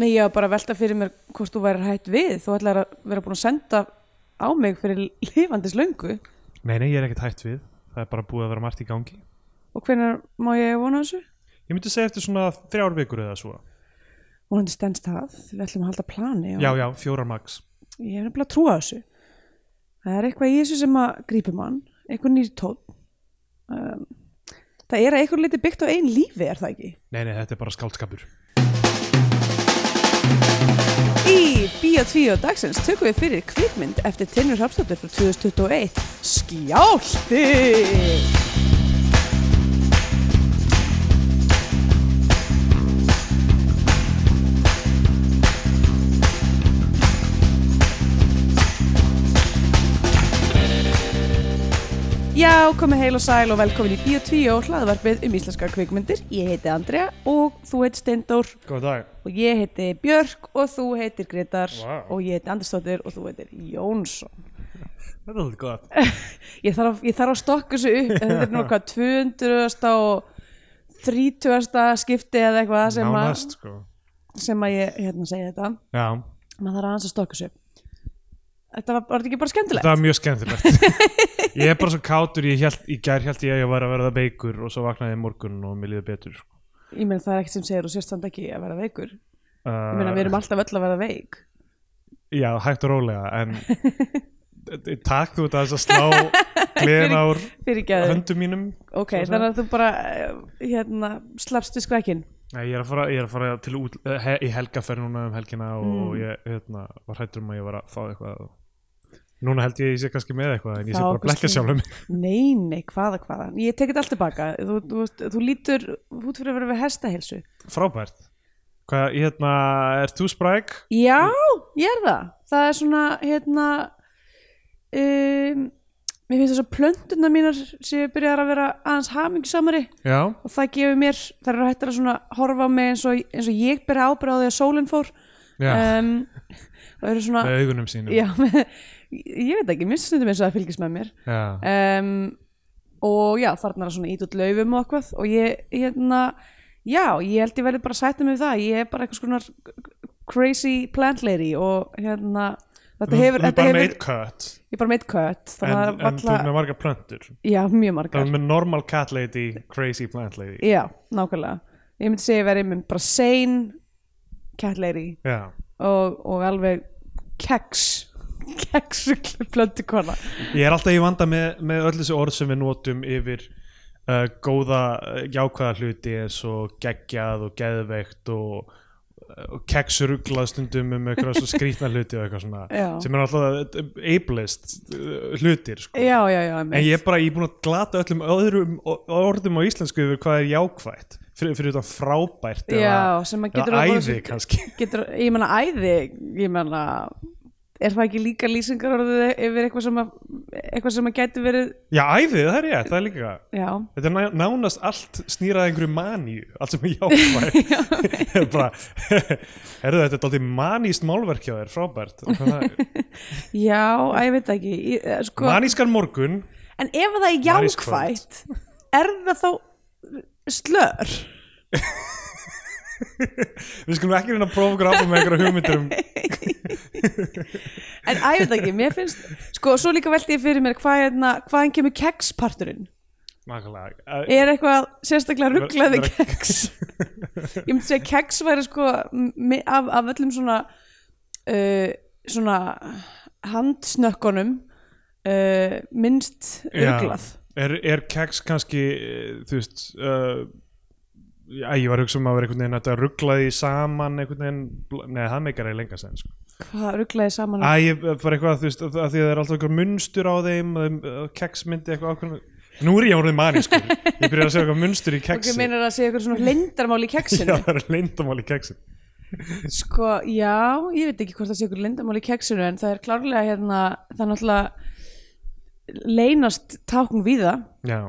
Nei, ég var bara að velta fyrir mér hvort þú væri hætt við þú ætlar að vera búin að senda á mig fyrir lifandis löngu Nei, nei, ég er ekkert hægt við Það er bara búið að vera margt í gangi og hvenær má ég vona þessu? Ég myndi segja eftir svona þrjár vikur eða svo Vonandi stendst það, við ætlum að halda plani og Já, já, fjórar max ég er nefnilega að trúa þessu það er eitthvað í þessu sem að grípum hann eitthvað nýr tón um, það er að eitthvað liti byggt á einn lífi er það ekki Nei, nei, þetta er bara skáldskapur Í Bíó 2 dagsins tökum við fyrir kvikmynd eftir Tinnur Hrafsdóttur frá 2021 Skjálti Já, komið heil og sæl og velkomin í Bíó 2 hlaðvarpið um íslenska kvikmyndir. Ég heiti Andrea og þú heit Steindór Góð dag og ég heiti Björk og þú heitir Gretar Vá. og ég heiti Andersdóttir og þú heitir Jónsson Þetta er þetta gott ég þarf, að- ég þarf að stokka þessu upp en þetta er nú hvað 200. og 30. skipti eða eitthvað sem, að, Nánast, sko sem að ég hérna segi þetta Já, maður þarf aðeins að stokka þessu upp þetta var, var þetta ekki bara skemmtilegt þetta var mjög skemmtilegt Ég er bara svo kátur, ég held, í gær held ég að ég var að verða veikur og svo vaknaði ég í morgun og mér líður betur sko. ég meina það er ekkert sem segir og sérstand ekki að vera veikur ég uh, meina við erum alltaf öll að vera veik Já, hægt og rólega, en takk þú þetta að slá gleðina úr fyrir ekki höndum mínum ok, svo sem. þannig að þú bara eh, hérna, slappst við skrækin Nei, ég er að fara, ég er að fara til út, eh, he, í helgaferð núna um helgina Mm. og ég hérna, var hættur um að ég var að fá eitthvað og núna held ég að ég sé kannski með eitthvað en ég sé Þá bara að blekja kannski- sjálfum mig Nei, nei, hvaða, hvaða Ég tekið allt tilbaka Þú, þú, veist, þú lítur út fyrir að vera við hestahelsu Frábært Hvað, hérna, er þú spræk? Já, ég er það Það er svona, hérna um, Mér finnst þess að plönduna mínar sem ég byrjaðar að vera aðeins hamingjusamari Já og það gefur mér, það eru hættar að svona horfa á mig eins og, eins og ég byrja ábyrja á því að sólinn fór Já, um, Það eru svona með augunum sínum Já, með, ég veit ekki, minnst stundum eins og það fylgist með mér Já. um, og já, þarna er svona ít út laufum og eitthvað og ég, hérna, já, ég held ég verið bara að sætta mig við það, ég er bara eitthvað svona crazy plant lady og hérna, þetta Þú- hefur, Þú er þetta bara hefur með eitt kött ég er bara meitt kött, en, þannig að en þú valla, er með marga plöntur já, mjög Það margar er með normal cat lady, crazy plant lady já, nákvæmlega, ég myndi segja ég verið með bara sane cat lady Já, og, og alveg keks keks plöntu kona Ég er alltaf í vanda með, með öll þessi orð sem við notum yfir uh, góða uh, jákvæða hluti eins og geggjað og geðveikt og, uh, og keksuruglað stundum um eitthvað svo skrýtna hluti og eitthvað svona Já. sem er alltaf uh, ableist uh, hlutir sko. já, já, já, en ég er bara, ég er búin að glata öllum öðrum o- orðum á íslensku yfir hvað er jákvætt fyrir, fyrir þetta frábært já, eða, sem að getur eða orðið- æði kannski getur, ég menna æði ég menna er það ekki líka lýsingar orðið yfir eitthvað sem að, eitthvað sem að gæti verið Já, æði, það er rétt, það er líka já, Þetta er ná- nánast allt snýrað einhverju maníu, allt sem er jákvæð bara, herðu þetta er aldrei maníst málverk hjá þér, frábært Og hvað það- já, að ég veit það ekki ég, eh, sko, Manískan morgun en ef það er jákvætt er það þá slör Við skulum ekki reyna að prófa okkur áfram með einhverja hugmyndir um en að ég veit það ekki, mér finnst sko, svo líka velti ég fyrir mér hvað hérna, hvaðan kemur keksparturinn Nákvæmlega. Eh, er eitthvað sérstaklega rugglaði Vera- vera- keks ég myndi segja að keks væri sko mi- af, af öllum svona uh, svona handsnökkunum uh, minnst Já. rugglað Er, er keks kannski eh, þú veist uh, Já, ég var að hugsa um að vera einhvern veginn að þetta rugglaði saman einhvern veginn, bl- nei það meikar ekki lengra sen sko. hvað rugglaði saman um? Æ, ég eh, bara eitthvað, þú veist, að að því að það er alltaf eitthvað munstur á þeim, þeim eh, keksmyndi eitthvað ákveðum. Nú er ég orðið manið, sko. Ég byrjar að segja eitthvað munstur í og keksi. ég meinar að segja eitthvað svona lindarmál í Já, keksinu það er leindamál í keksi. sko, já, ég veit ekki hvort það sé eitthvað lindarmál í keksinu en það er klárlega hérna það er náttúrulega leynast tákn víða Já,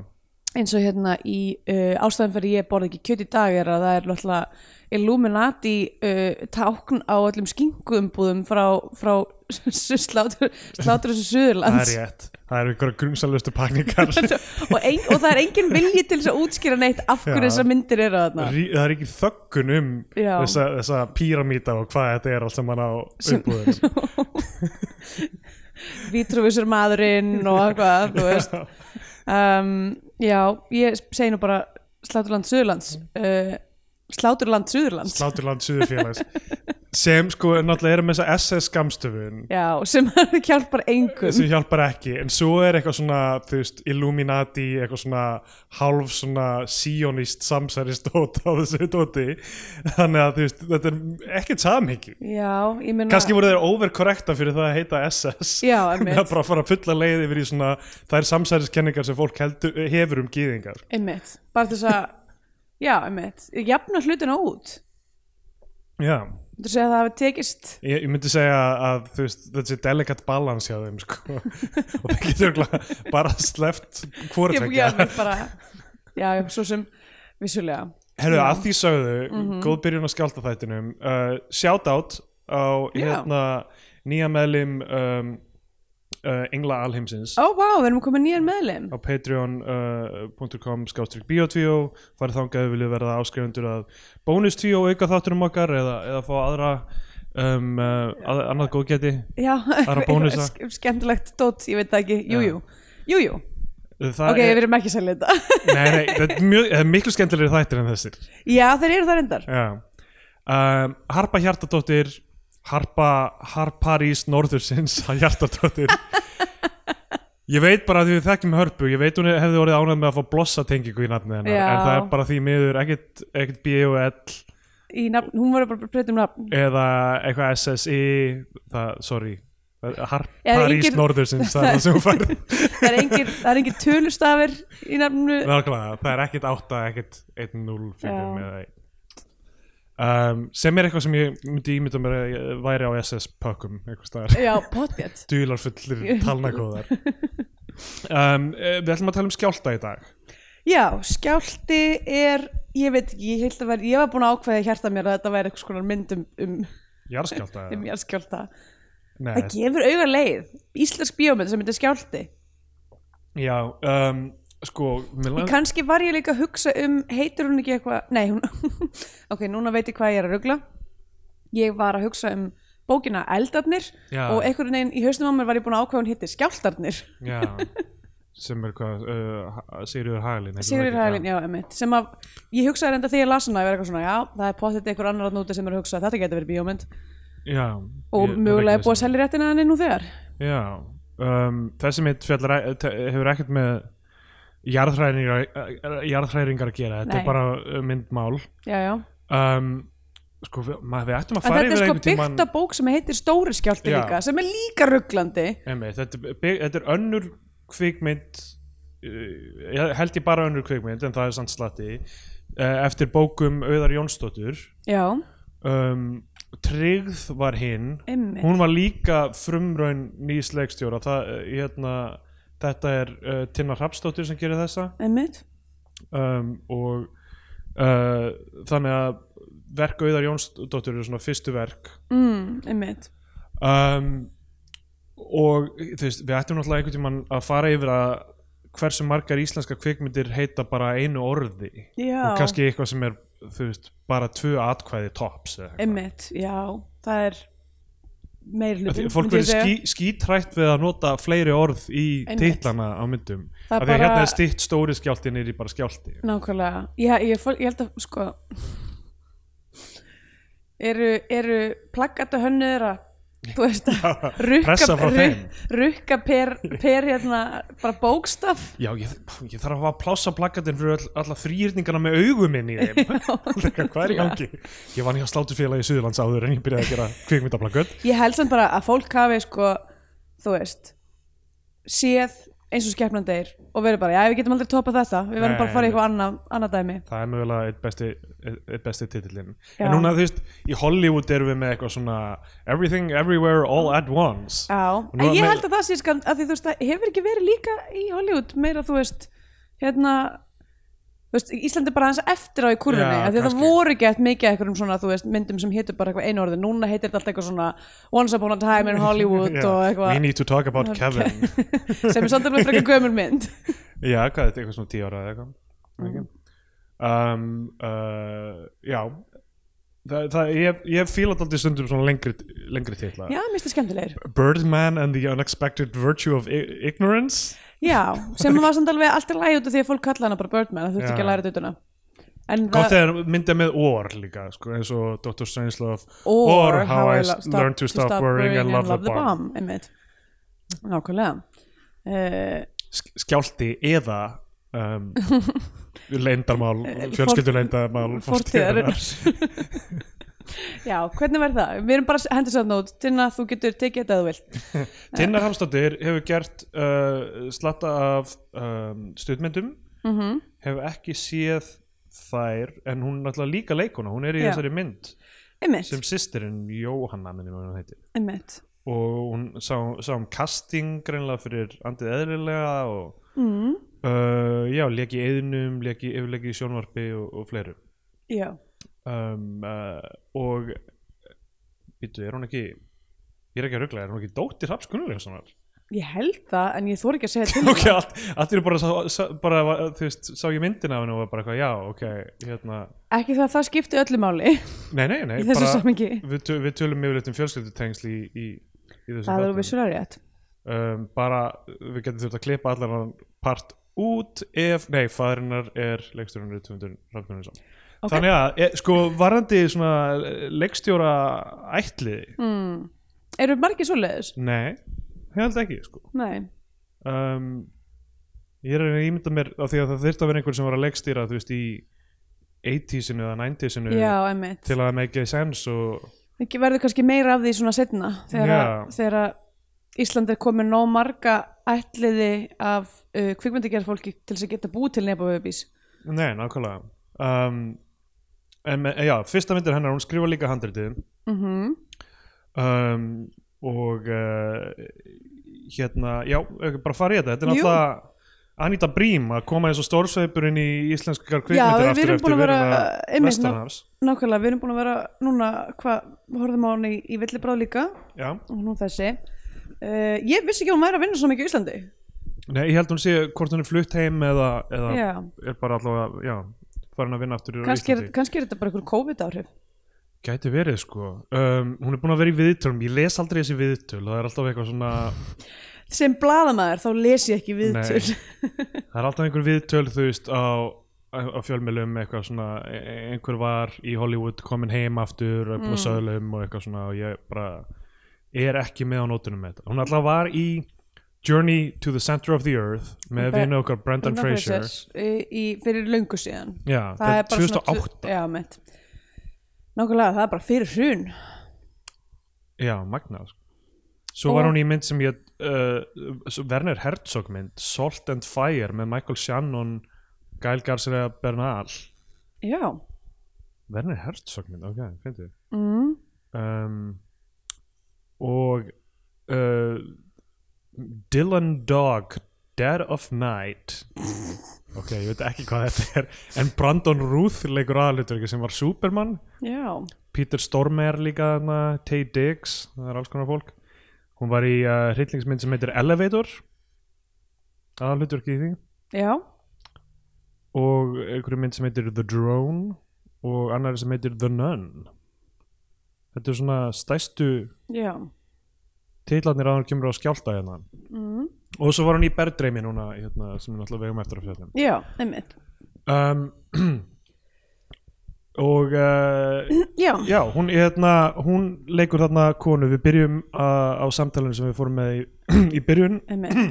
eins og hérna í uh, ástæðan fyrir ég borð ekki kjöt í dag er að það er náttúrulega Illuminati uh, tákn á öllum skinkuumbúðum frá, frá slátur, slátur þessu það er söðurlands rétt það eru einhverja grunsalustu pakningar og, ein, og það er engin vilji til þess að útskýra neitt af hverju Já. þessar myndir eru þarna Rí- það er ekki þöggun um Já. þessa, þessa píramíta og hvað þetta er allt saman á Sem- umbúðinu vítrúvisur maðurinn og hvað, þú veist um, já, ég segi nú bara sláturland söðurlands uh, sláturland söðurlands sláturland suðurfélags sem sko náttúrulega eru með þessa SS skamstöfun já, sem hjálpar engum sem hjálpar ekki en svo er eitthvað svona þú veist, Illuminati, eitthvað svona hálf svona sionist samsæristót á þessu dóti þannig að þú veist, þetta er ekkert samhengi Já, ég meina kannski voru þeir overkorrekta fyrir það að heita SS Já, með að einmitt, bara fara fulla leið yfir í svona þær samsæriskenningar sem fólk heldur, hefur um gýðingar einmitt Bara til þess að, já, einmitt Jafna hlutina út já, Þú segja að það hafi tekist ég, ég myndi segja að þú veist, þetta sé delicate balance hjá þeim sko. og það getur örugglega bara sleppt hvort Ég ég alveg bara Já, já, svo sem, vissulega Herru, að því sögðu, Mhm. góð byrjun á skjáltaþættinum uh, Shoutout á Já. hérna, nýja meðlim um, uh, Engla Alheimsins Ó, vá, við erum komin nýjan meðlim á patreon.com uh, skástrík biotvíó farið þangað ef við viljum verða áskrifundur að bónustvíó auka þáttunum okkar eða, eða fá aðra um, uh, að, annað góðgæti Já, Bara bónusa. eitthvað skemmtilegt dót, ég veit það ekki Jú, Já. jú, jú, jú það Ok, við er, erum ekki að selja þetta nei, nei, það er, mjög, það er miklu skemmtilegri þættir en þessir Já, þeir eru það reyndar Já. um, Harpa Hjartadóttir Harpa Harparís Norðursins Hjartadóttir Ég veit bara að því við þekkjum hörpu Ég veit hún hefði orðið ánægð með að fá blossa tengingu í nafnið hennar Já. En það er bara því miður ekkert, ekkert B.O.L Í nafn, hún var bara að breyta um nafn eða eitthvað SSI það, sorry Eða Harparís engin- Norðursins það er það sem hún fær Það er engin, það er engin tölustafir í nafnu Nákvæmlega, það er ekkert 8, ekkert 1, 0, 5 Já. eða 1 um, sem er eitthvað sem ég myndi ímynda mér að ég væri á SS pökkum eitthvað um, staðar, Já, potbjart dularfullir talnakóðar um, eh, Við ætlum að tala um skjálta í dag Já, skjálti er, ég veit ekki, ég held að vera, ég var búin að ákveða í hjarta mér að þetta væri eitthvað svona mynd um, um, Jarðskjálta um eða? jarðskjálta. Nei, Það gefur auga leið, íslensk bíómynd sem heitir skjálti. já um, sko, mér En langar kannski var ég líka að hugsa um, heitir hún ekki eitthvað, nei, hún, ok, núna veit ég hvað ég er að rugla. Ég var að hugsa um bókina Eldarnir Já. og einhvern veginn í haustum á mér var ég búin að ákveða hún heitir Skjáltarnir. já, sem er hvað uh, Sigurður Hagalín Sigurður Hæglin, já, emitt sem að, ég hugsaði reynda þegar ég las hana ég var eitthvað svona, já, það er pottet einhver annar að núti sem er að hugsa, þetta getur verið bíómynd já, og ég- mögulega ég- er búið að selja réttina henni nú þegar Já, um, þessi mitt fjallar, e- te- hefur ekkert með jarðhræringar, e- jarðhræringar að gera, þetta Nei. er bara uh, myndmál já, já. um, Sko, við, maður, við ættum að en fara þetta er yfir sko einhvern byggt tímann- af bók sem heitir Stóri skjálti Já. líka sem er líka rugglandi Einmitt, þetta, er bygg, þetta er önnur kvikmynd uh, ég held ég bara önnur kvikmynd en það er sann slatti uh, eftir bókum Auðar Jónsdóttur já, um, Tryggð var hinn emitt hún var líka frumraun nýs leikstjóra það, eh, hérna, þetta er uh, Tinna Hrafsdóttir sem gerir þessa emitt, um, og uh, þannig að verk Auðar Jónsdóttur eru svona fyrstu verk mm, emitt um, og þú veist, við ættum náttúrulega einhvern tímann að fara yfir að hversu margar íslenska kvikmyndir heita bara einu orði já, og kannski eitthvað sem er þú veist, bara tvö atkvæði tops eða eitthvað. emitt, já, það er meir Af því hlutum að Fólk verður skí, skítrætt við að nota fleiri orð í Einmitt. titlana á myndum Það er af því að hérna bara- er stitt stóri skjálti niður í bara skjálti nákvæmlega, já, ég, fór, ég held að sko eru, eru plaggata hönnuður að þú veist að Pressa frá rukka, þeim. rukka per, per hérna bara bókstaf Já, ég, ég þarf að hafa plássa plakatinn fyrir all, alla þrýrningana með augum inn í þeim Þegar, Hvað er í gangi? Ég vann hjá sláturfélagi Suðurlands áður en ég byrjaði að gera kvikmyndaplakat Ég held samt bara að fólk hafi sko, þú veist séð eins og skepnan deyr og verið bara, já við getum aldrei topað þetta við verðum Nei, bara að fara í eitthvað annað, annað dæmi Það er mögulega eitt besti, eitt besti titillinn Já. En núna þú veist, í Hollywood erum við með eitthvað svona Everything, Everywhere, All at Once Já, Nú en er ég meira- held að það sé skand að því þú veist, það hefur ekki verið líka í Hollywood meira þú veist, hérna þú veist, Ísland er bara aðeins eftir á í kurvinni Já, af því að það kannski. voru gett mikið af einhverjum svona þú veist, myndum sem heitur bara eitthvað einu orði núna heitir þetta alltaf eitthvað svona Once Upon a Time in Hollywood Já, og we eitthvað need to talk about Ok. Kevin sem er samt alveg frekar gömur mynd já, hvað er þetta, eitthvað svona 10 ára eða eitthvað mm. um, uh, já það, það, ég, ég fíla aldrei stundum svona lengri, lengri titla Já, mér finnst það skemmtilegir Birdman and the Unexpected Virtue of I Ignorance Já, sem var samt alveg allt í lagi út af því að fólk kalla hana bara Birdman það þurfti ekki Já. að læra þetta utuna En Gott það, er myndið með or líka sko, eins og Dr. Strangelove or, How I Lo- Learned to Stop Worrying and Love the Bomb einmitt. Nákvæmlega uh, Sk- skjálti eða um, leindarmál Eh, fjölskylduleindarmál Fortíðarinnar Já, hvernig verð það? Við erum bara að hendur sér nót Tinna, þú getur tekið þetta að þú vilt Tinnar Hamstóttir hefur gert uh, slatta af um, stuðmyndum mm -hmm. hefur ekki séð þær en hún er náttúrulega líka leikuna hún er í Já. þessari mynd Einmitt, sem sýstirinn Jóhanna minni hvað hún heitir einmitt og hún sá, sá um casting greinlega fyrir andið eðlilega og mm. uh, já, leki í eðinum, leki yfirlegi í sjónvarpi og, og fleiru Já, um, uh, og býtu, er hún ekki ég er ekki að rugla, er hún ekki dóttir Hrafs Gunnlaugssonar? ég held það en ég þor ekki að segja til ok, allt, allt er bara, sá- sá- bara þú veist, sá ég myndina af henni og var bara eitthvað, já, ok hérna, Ekki það að það skipti öllu máli nei, nei, nei í þessu bara, samingi við, töl, við tölum yfirleitt um fjölskyldutengsl í, í, í þessum Það þáttum. er vissulega rétt um, bara við getum þurft að klippa allan hann part út ef, nei, fæðurinnar er leikstjórun Rutmundur Rafnunisson Ok. Þannig að, e, sko, varandi svona eh, leikstjóra ætliði mm. Eru margir svoleiðis? Nei, ég held ekki, sko Nei, um, Ég er að reyna að ímynda mér á því að það þyrfti að vera einhver sem var að leikstýra, þú veist, í 80-sinu eða 90-sinu já, einmitt til að make sense og Það verður kannski meira af því svona setna þegar, Já. að, þegar að Ísland er komið nóg marga ætliði af uh, kvikmyndagerðfólki til þess að geta búið til nefnaböfubís Nei, nákvæmlega um, En me- já, fyrsta myndir hennar, hún skrifa líka handritið mm -hmm. um, og uh, hérna, já, ekki bara fara í þetta þetta er Jú. náttúrulega Anita Brím að koma eins og stórsveipur inn í Já, íslenskar kvikmyndir við aftur erum eftir búin að vera, eh, veruna einmitt, ná- vestanhafs Nákvæmlega, við erum búin að vera núna, hvað, horfðum á hann í, í villibráð líka Já, og nú þessi uh, Ég vissi ekki að hún væri að vinna svo mikið í Íslandi nei, ég held hún sé hvort hún er flutt heim eða, eða Já, er bara allavega, já, farin að vinna aftur í kannski er, Íslandi kannski er þetta bara einhver COVID-áhrif Gæti verið sko, um, hún er búin að vera í viðtölum ég les aldrei þessi viðtöl, það er alltaf eitthvað svona Sem bladamæður þá les ég ekki viðtöl það er alltaf einhver viðtöl þú veist á, á á fjölmiðlum eitthvað svona, e- e- einhver var í Hollywood komin heim aftur og búið mm. söðlum og eitthvað svona og ég bara er ekki með á nótunum með þetta hún alltaf var í Journey to the Center of the Earth með Bre- vinnu okkar Brendan Brendan Fraser Fraser, í- eh, í- fyrir löngu síðan já, það, það er er bara 2008 svona, já, mitt nákvæmlega, það er bara fyrir hrun já, magnað sko. svo Og- var hún í mynd sem ég uh, svo- Werner Herzog mynd Salt and Fire með Michael Shannon Gael Garcia Bernal já, Werner Herzog mynd, ok, finnst þið mm. um, og uh, Dylan Dog Dead of Night ok, ég veit ekki hvað þetta er en Brandon Ruth leikur aðalutverki sem var Superman, já Peter Stormer líka þarna, Tay Diggs það er alls konar fólk hún var í uh, hryllingsmynd sem heitir Elevator aðalutverki í því já, og einhverju mynd sem heitir The Drone og annari sem heitir The Nun þetta er svona stæstu já titlarnir að hann kemur á skjálta hérna mm. og svo var hann í Berdreimi núna hérna, sem er náttúrulega vegum eftir að fjallum já, einmitt um, og uh, já, já, hún, hérna, hún leikur þarna konu, við byrjum uh, á samtalinu sem við fórum með í, í byrjun einmitt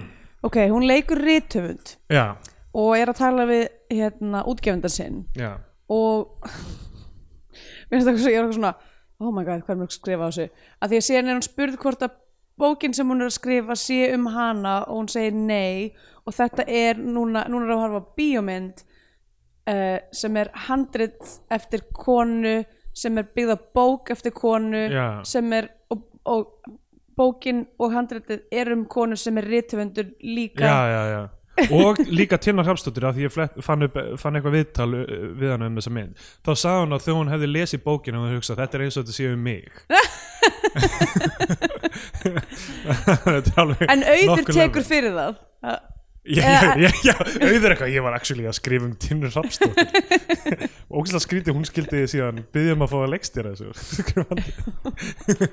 ok, hún leikur rithöfund já, og er að tala við hérna, útgefundan sinn já, og mér finnst það eitthvað svo- ég er eitthvað svona oh my god, hvað er mér að skrifa á þessu að því að síðan er hún spurð hvort að bókin sem hún er að skrifa sé um hana og hún segir nei og þetta er núna, núna er að harfa bíómynd uh, sem er handrit eftir konu sem er byggð á bók eftir konu Já. sem er og, og bókin og handritið er um konu sem er rithöfundur líka já, já, já. og líka Tilna Hrafstóttir af því ég flett, fann, upp, fann eitthvað viðtal uh, við hana um þessa mynd þá sagði hún að þegar hún hefði lesið bókina og hugsað þetta er eins og þetta séu um mig Þetta er alveg en auður nokkuð tekur lögulegt. fyrir Eh, það Ha, Já, já, já, já, auður eitthvað, ég var actually að skrifa um Tilna Hrafstóttir ógæslega skrítið, hún skildi síðan byggði um að fá að leggstýra þessu Skrifandi.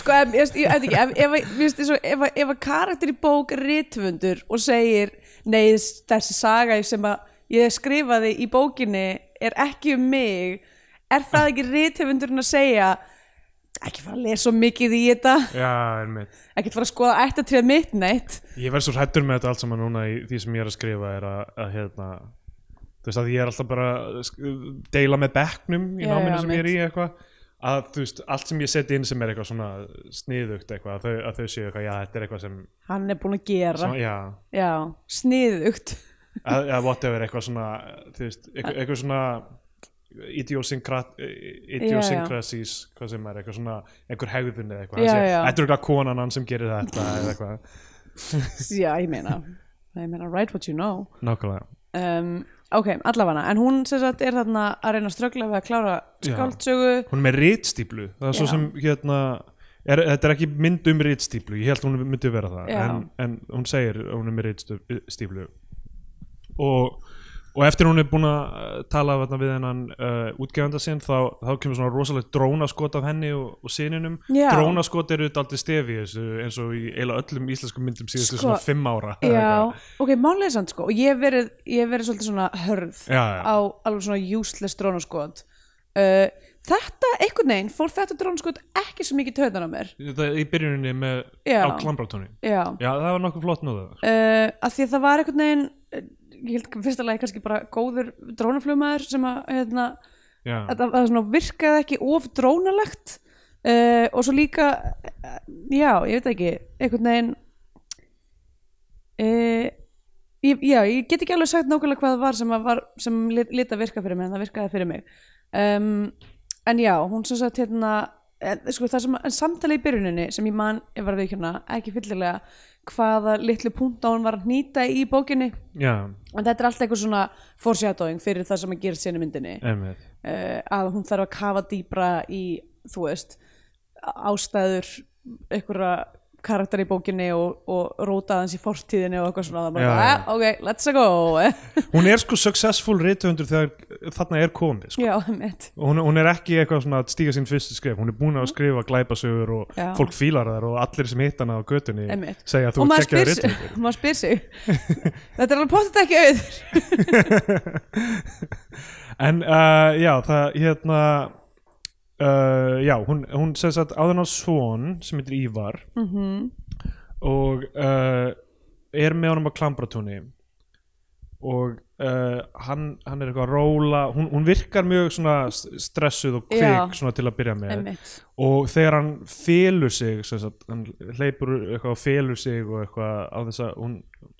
sko ef, ég, ég veit ekki ef, ef, ef, ef, ef, ef að karakter í bók er rithöfundur og segir nei þessi saga sem að ég skrifaði í bókinni er ekki um mig er það ekki rithöfundurinn að segja ekki fara að lesa of mikið í þetta Já, er mitt ekki fara að skoða ættatrið mitt neitt Ég verð svo hrættur með þetta allt saman núna í því sem ég er að skrifa er að, að hérna þú veist að ég er alltaf bara að sk- deila með bekknum í Já, náminu já, sem ég er í eitthvað að þú veist, allt sem ég seti inn sem er eitthvað svona sniðugt eitthvað, að þau, að þau séu eitthvað, já, þetta er eitthvað sem, hann er búin að gera sem já, já, sniðugt að, að whatever, eitthvað svona þú veist, eitthvað, eitthvað svona idiosynkrat- idiosyncrasies hvað sem er, eitthvað svona einhver hegðun eða Já, eitthvað, Hann segir, já. þetta er eitthvað konan hann sem gerir þetta eða eitthvað, já, ég meina, ég meina write what you know nákvæmlega um, ok, allavega en hún sem sagt er þarna að reyna að ströggla við að klára Já. skáldsögu hún er með ritstíplu það er svo Já. sem hérna er, þetta er ekki mynd um ritstíplu ég held hún myndi vera það Já. en, en hún segir að hún er með ritstíplu og, og eftir hún er búin að eh, tala þarna við hennan uh, útgefanda sinn þá, þá kemur svona rosalegt drónaskot af henni og, og sininum Já. drónaskot eru þetta aldrei stefi þessu, eins og í eiginlega öllum íslenskum myndum síðustu Sko, svona fimm ára já, ok, málið er samt sko og ég hef verið, ég hef verið svolítið svona hörð Já, já. á alveg svona useless drónaskot uh, þetta, einhvern veginn fór þetta drónaskot ekki svo mikið töðan á mér það, í byrjuninni með, Já. á klambrátónu já, já það var nokkuð flott nú það uh, að því að það var einhvern veginn eh, ég held fyrsta lagi kannski bara góður drónaflugmaður sem að hérna, já. að það- það svona virkaði ekki of drónalegt uh, og svo líka uh, já, ég veit ekki einhvern veginn uh, ég, já, ég get ekki alveg sagt nákvæmlega hvað það var sem, að var, sem lit, lit að virka fyrir mig en það virkaði fyrir mig um, en já, hún sem sagt hérna en, sko, það sem, en samtali í byrjuninni sem ég man, ég var að veikjuna, ekki fyllilega hvaða litlu punta hún var að hnýta í bókinni já, en þetta er alltaf eitthvað svona foreshadowing fyrir það sem að gera sinni myndinni einmitt uh, að hún þarf að kafa dýbra í þú veist ástæður einhverja karakter í bókinni og, og róta hans í fortíðinni og eitthvað svona það bara, Já, ja, já. ok, let's go hún er sko successful rithöfundur þegar þarna er komið sko. já, mitt Og hún, hún er ekki eitthvað svona að stíga sín fyrstu skrif hún er búin að skrifa glæpasögur og Mm. Já. fólk fílar þar og allir sem hitt hana á götunni Einmitt. segja að þú og er maður geggjaður spyr, sig, rithöfundur maður spyr sig þetta er alveg pottet ekki auður en uh, já, það hérna uh, já, hún, hún sem sagt áðan á son sem heitir Ívar Mhm, -hmm. og uh, er með honum á klambratúni og uh, hann, hann er eitthvað að róla hún, hún virkar mjög svona s- stressuð og kvik Já. svona til að byrja með einmitt, og þegar hann felur sig sem sagt, hann hleypur eitthvað og felur sig og eitthvað á þess að hún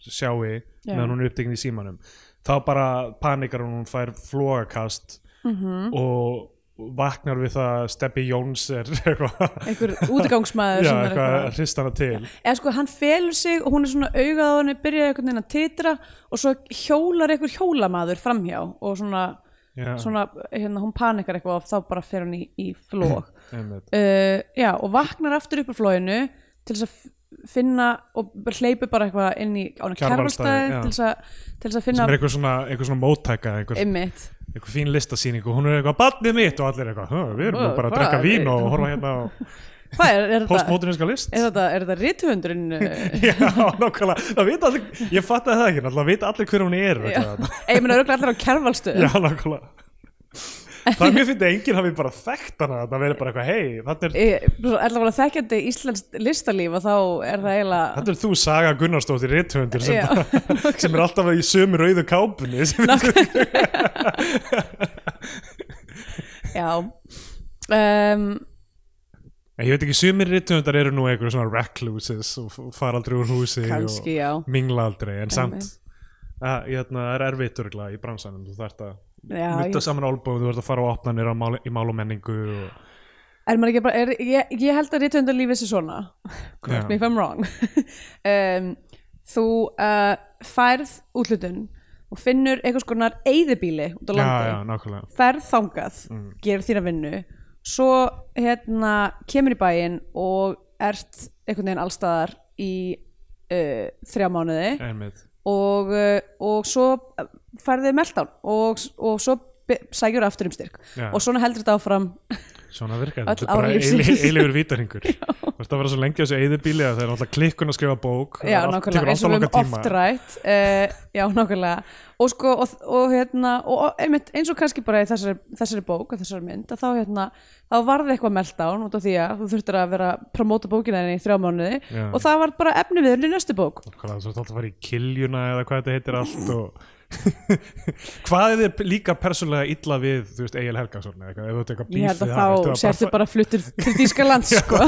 sjái Já. meðan hún er upptekinn í símanum þá bara panikar hún, hún fær flogakast -hmm. og vaknar við það að Steppi Jóns er eitthvað einhver útgangsmaður Já, sem er eitthvað að hrista hana til eða sko hann felur sig og hún er svona augað á henni byrjaði einhvern veginn að titra og svo hjólar einhver hjólamaður framhjá og svona, Já. svona hérna, hún panikar eitthvað og þá bara fer hún í, í flók Einmitt. uh, já, og vaknar aftur upp úr flóinu til þess að f- finna og hleypur bara eitthvað inn í á Kjarvalsstaði, kjærvalstaði já. til þess að- til þess að sem finna er eitthvað svona, eitthvað svona móttæka eitthvað, einmitt eitthvað fín listasýningu og hún er eitthvað barnið mitt og allir eitthvað "Hö, við erum nú bara að Hvað? drekka vín og horfa hérna á hvað er, er þetta, postmóderníska list er þetta, er þetta rithöfundurinn eh, Já, nákvæmlega, það veit allir, ég fatt það ekki, náttúrulega veit allir hver hún já. er veit það. Eh, ég meina örgulega allir á kjærvalstöð Já, nákvæmlega Það er mjög fyndið að enginn hafi bara þekkt hana það verið bara eitthvað, hei, þetta er, allavega þekkjandi íslensk listalíf og þá er það eiginlega þetta er þú Saga Gunnarsdóttir rithöndir sem, Já, bara, sem er alltaf í sömu rauðu kápunni sem, já um, En ég veit ekki, sömur rithöndar eru nú eitthvað svona recluses og f- fara aldrei úr húsi kannski og já, mingla aldrei, en samt Einmitt. að, hérna, það er erfitt örgulega í bransanum þú þarft að já nutta ég, saman álbúðum, þú þarft að fara á opnanir á mál, í mál og menningu og, er maður ekki bara er, ég, ég held að rithöndar lífið sé svona correct Já. me if I'm wrong um, þú uh, færð útlutun og finnur einhvers konar eyðibíli út á já, landi já, nákvæmlega ferð þangað, mm. gerir þína vinnu svo hérna kemur í bæinn og ert einhvern veginn allstaðar í uh, þrjá mánuði einmitt, og, uh, og svo færði meltdown og, og svo be- sækjur aftur um styrk Já. og svona heldur þetta áfram svona virkar Öll þetta er bara ár lífsins. eiligur vítaringur þú ert að vera svo lengi á þessu eðibíli að það er alltaf klikkun að skrifa bók það já, er allt- tekur nákvæmlega, eins alltaf og við langan höfum tíma. oft rætt uh, já, nákvæmlega og sko, og, og hérna og, og einmitt, eins og kannski bara í þessari, þessari bók og þessari mynd, að þá hérna þá varði eitthvað meltdown út af því að þú þurftir að vera að promóta bókina henni í þrjá mánuði Já. og það var bara efni við henni í næstu bók Nákvæmlega, þú ert alltaf að fara í kiljuna eða hvað þetta heitir allt og hvað er þér líka persónulega illa við, þú veist, Egil Helgason eða eitthvað, ef þú ert ég eitthvað bíf held við að hann, ertu þá sérstu bara fluttur til Þýskaland sko.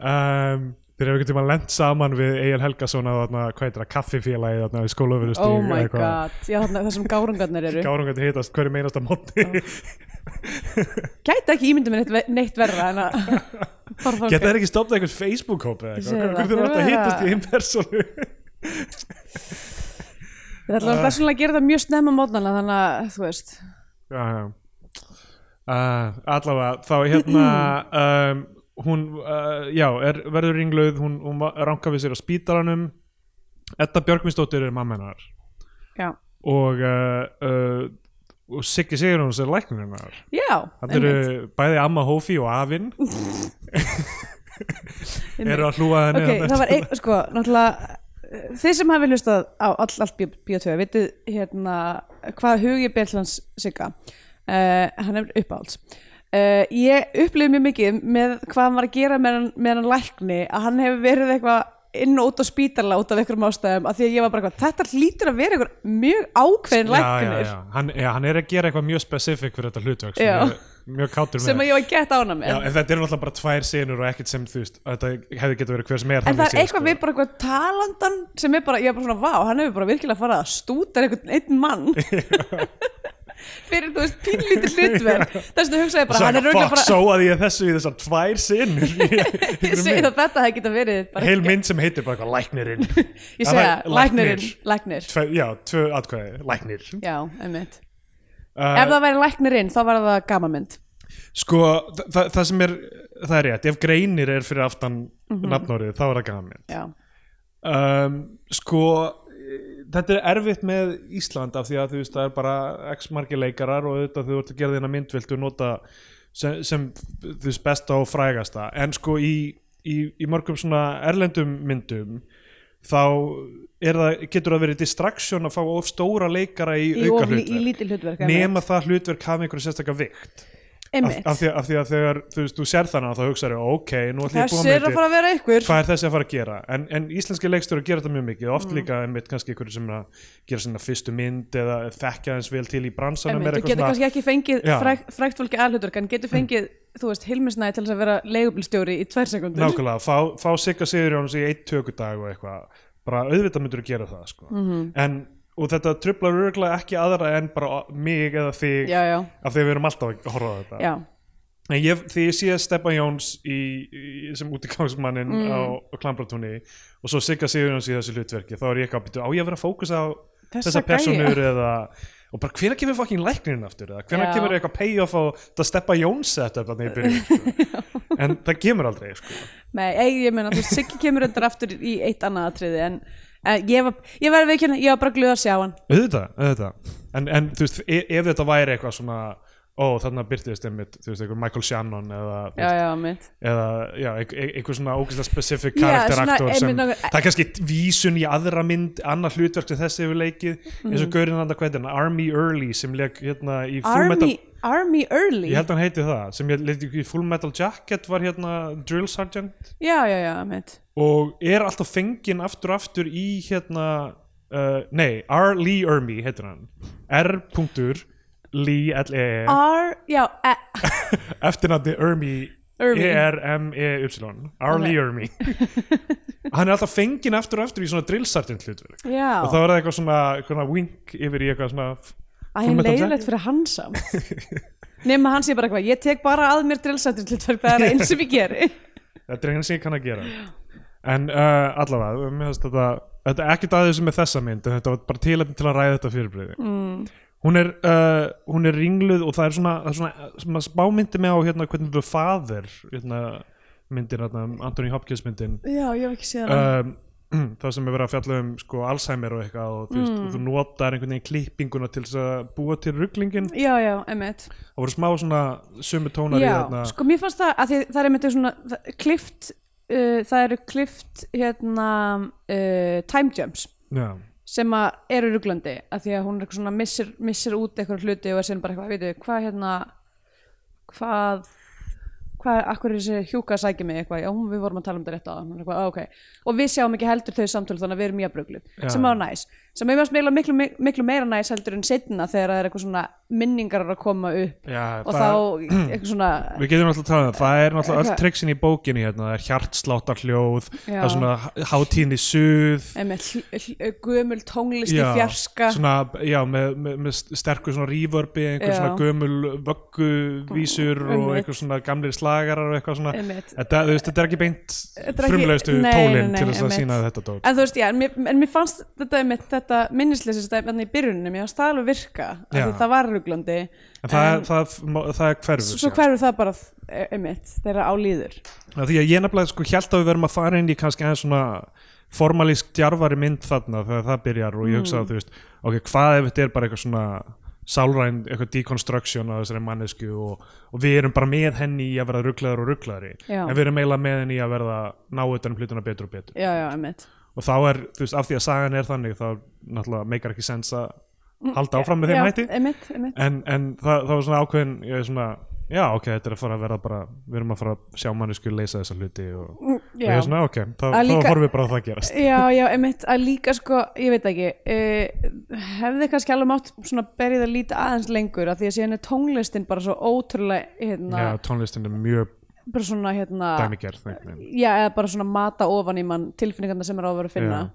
um, þeir eru einhvern tíma lent saman við Egil Helgason að þarna, hvað heitir það, kaffifélagi þarna í skólaöfurustíg oh my god, já, þarna- þessum gárungarnir eru gárungandi hitast hverju meinasta móti gæti ekki ímyndum neitt, neitt verra en að fara þá geta þeir ekki stopnað einhvern Facebook-hóp eða Ég segi eitthvað, það, hvernig þeir eru alltaf að þeir hitast vera- í einn persónu Við ætlum persónulega að gera það mjög snemma mótnana þannig að þú veist já, já. Uh, allavega, þá hérna um, hún, uh, já, er, verður ringluð hún, hún ranka við sér á spítaranum Edda Björgvinsdóttir er mamma hennar Já, og, uh, uh, og Siggi Sigurjóns er læknir hennar já þetta einmitt. eru bæði amma Hófi og afinn eru að hlúa henni Ok, þarna það var eftir- ein, sko, náttúrulega eh, Þið sem hafi hlustað á all, allt bíó- Bíó2 vitið hérna hvað hugi Björnlands sigga uh, hann er uppáhalds Uh, ég upplifði mjög mikið með hvað hann var að gera með hann, með hann lækni að hann hefur verið eitthvað inn og út á spítala út af einhverjum ástæðum af því að ég var bara eitthvað, þetta hlýtur að vera eitthvað mjög ákveðin já, já, læknir já. Hann, já, hann er að gera eitthvað mjög specifík fyrir þetta hlutverk sem Já. ég er mjög kátur með sem að ég var gett ána með Já, en þetta eru náttúrulega bara tvær senur og ekkert sem þú veist, að þetta hefði getað verið hver sem er En þannig það er séð, sko. eitthvað við bara eitthvað talandan sem er bara, ég er bara svona, vá, hann hefur bara virkilega farið að stúta einhvern einn mann fyrir, þú veist, pínlítið hlutverk þess að hugsaði bara, Svo hann er eitthvað, rauglega fuck, bara sóaði ég þessu í þessar tvær senur í- í ég einhverri segi mynd. það þetta hefði geta verið bara, Heil mynd sem heitir bara eitthvað læknirinn ég segi það, læknirinn, læknir Tve, Já, tvö atkvæði, læknir já, einmitt, uh, ef það væri læknirinn þá var það gamamynd Sko, þa þa það sem er, það er rétt Ef greinir er fyrir aftan Mhm. nafnórið, þá er það gaman já, um, Sko, eh, þetta er erfitt með Ísland af því að þú veist, það er bara x margir leikarar og auðvitað þú ert að gera þína mynd viltu nota sem, sem þú veist besta og frægasta en sko í, í, í mörgum svona erlendum myndum þá er það, getur það verið distraction að fá of stóra leikara í, í, auka of- í hlutverk lítið hlutverk einmitt. nema það hlutverk hafi einhverju sérstaka vikt af, einmitt, af, því, af því að þegar þú, veist, þú sér þannig að þá hugsaðu ok, nú ætlum ég að búa þessi er myndir að fara að vera ykkur hvað er þessi að fara að gera en, en íslenski leikstjóri gera þetta mjög mikið Mm. oft líka einmitt kannski ykkur sem er að gera sinna fyrstu mynd eða þekkja eins vel til í bransanum einmitt, þú er getur eitthvað kannski ekki fengið Já. Mm. fræk, frækt fólki aðhlutverk en getur fengið, þú veist, Hilmisnæði til þess að vera leigubilstjóri í tvær sekundur nákvæmlega, fá, fá Sigga Sigurjóns í eitt tökudag og eitthvað bara auðvitað myndur að gera það sko. Mm. Mhm. en, og þetta trublar örgulega ekki aðra en bara mig eða þig já, já, af því að við erum alltaf að horfa á þetta já, En ég, því ég sé Steppa Jóns í, í, sem útigangsmanninn á, á Mm. Klambratúni og svo Sigga Sigurjóns í þessu hlutverki þá er ég eitthvað að byrja á ég að vera að fókusa á Þessa þessar gæja. personur eða og bara hvenær kemur fucking læknirinn aftur eða hvenær Já. kemur eitthvað payoff á þetta Steppa Jóns þetta þannig í byrjun sko. en það kemur aldrei sko. nei, ei, ég meina þú veist, Siggi kemur undir aftur í eitt annað atriði en eh, ég var, ég verði við kynna ég var bara glöð að sjá hann auðvitað, auðvitað. En, en þú veist, e ef þetta væri eitthvað svona ó þarna byrtist einmitt þú veist, einhver Michael Shannon eða þú já, já, mitt, eða já, ein- ein- einhver svona ógeðslega specific Já, karakteraktor svona, sem, einmitt nokkuð- það er kannski vísun í aðra mynd, annað hlutverk sem þessi hefur leikið, eins og gaurinn andar hvað heitir hann, Army Early sem leik hérna í Full Metal, Mm. Army, Army Early ég held hann heiti það sem ég leik í Full Metal Jacket var hérna Drill Sergeant já, já, já, mitt og er alltaf fenginn aftur og aftur í hérna uh, nei, R. Lee Ermy heitir hann, R. Lee L. E R, já, e, eftirnafni Ermi Ermi. E-R-M-E-Y Arlie Ermi hann er alltaf fenginn aftur og aftur í svona drillsartinn hlutverk já og þá er það eitthvað svona eitthvað wink yfir í eitthvað svona að hinn Fullmetal leiðilegt fyrir hann samt nema hann sé bara eitthvað, ég tek bara að mér drillsættir hlutverk það er einn sem ég geri þetta er eitthvað sem ég kann að gera en uh, allavega mér finnst þetta, þetta er ekkert aðeins með þessa mynd en þetta var bara tilefni til að ræða þetta fyrirbreyði mm, hún er, uh, hún er ringluð og það er svona, það er svona, svona spámyndi með á hérna, hvernig þú faðir hérna, myndin, hérna, Anthony Hopkins myndin já, ég hef ekki séð hana um, það sem er verið að fjalla um sko, Alzheimer og eitthvað og þú, Mm. veist, þú notar einhvern veginn klippinguna til þess að búa til rugglingin já, já, emmitt það voru smá svona sömu tónar í hérna- já, þarna sko mér fannst það að því, það er einmitt svona það- klift uh, það eru klift hérna uh, time jumps já, sem að eru ruglandi að því að hún er eitthvað svona missir, missir út eitthvað hluti og er sem bara eitthvað, veitu, hvað hérna hvað hvað, akkur er þessi hjúka að sækja mig eitthvað já, hún- við vorum að tala um þetta rétt á hann eitthvað, "Á, okay. og við sjáum ekki heldur þau samtölu þannig að við erum mjög bruglu, Já. sem var næs sem við varst miklu, miklu, miklu meira næs heldur en setna þegar það er eitthvað svona minningar eru að koma upp já, og það- þá eitthvað svona Við getum alltaf talað um það, það er náttúrulega Eitthvað- öll triksin í bókinni hérna, það er hjartsláttar hljóð, Já. það er svona hátíðni suð, með eh, gömul tónlist í já, fjarska svona, já, með, með, með sterku svona reverbi, einhver Já. svona gömul vögguvísur og einmitt. einhver svona gamlir slagarar og eitthvað svona, Einmitt. þetta, þú veist, þetta er ekki beint er ekki- frumlegustu nei, nei, tólinn nei, til þess að einmitt. sína þetta dót. en þú veist, já, en mér, en mér fannst þetta, einmitt, þetta minnisleysi stæðan í byrjunum, ég fannst það alveg virka af því Já. það var ruglandi En það, en- en, það, það, það er hverfur. svo hverfur það bara eh, einmitt, þeirra álýður Já, því að ég nefnilega sko held að við verum að fara inn í kannski aðeins svona formalísk djarfari mynd þarna þegar það byrjar og ég Mm. hugsaði að þú veist ok, hvað ef þetta er bara eitthvað svona sálræn, eitthvað deconstruction á þessari mannesku og, og við erum bara með henni í að verða rugglaður og rugglaðari Já. en við erum eiginlega með henni í að verða ná utan um hlutina betur og betur já, já, einmitt og þá er, þú veist, af því að sagan er þannig þá náttúrulega meikar ekki sens að halda áfram Mm. með já, þeim hætti einmitt, einmitt. en, en það, það var svona ákveðin ég er svona, já ok, þetta er að fara að verða bara við erum að fara að sjá mannesku leysa þessa hluti og, og Já. ég er svona, ok, þá, Að líka- þá horfum við bara að það gerast já, já, einmitt að líka sko, ég veit ekki eh, hefði kannski alveg mátt svona berið að líta aðeins lengur af því að síðan er tónlistin bara svo ótrúlega hérna, já, tónlistin er mjög bara svona hérna dæmigerð einhvern veginn. já, eða bara svona mata ofan í mann tilfinningarna sem er á að vera að finna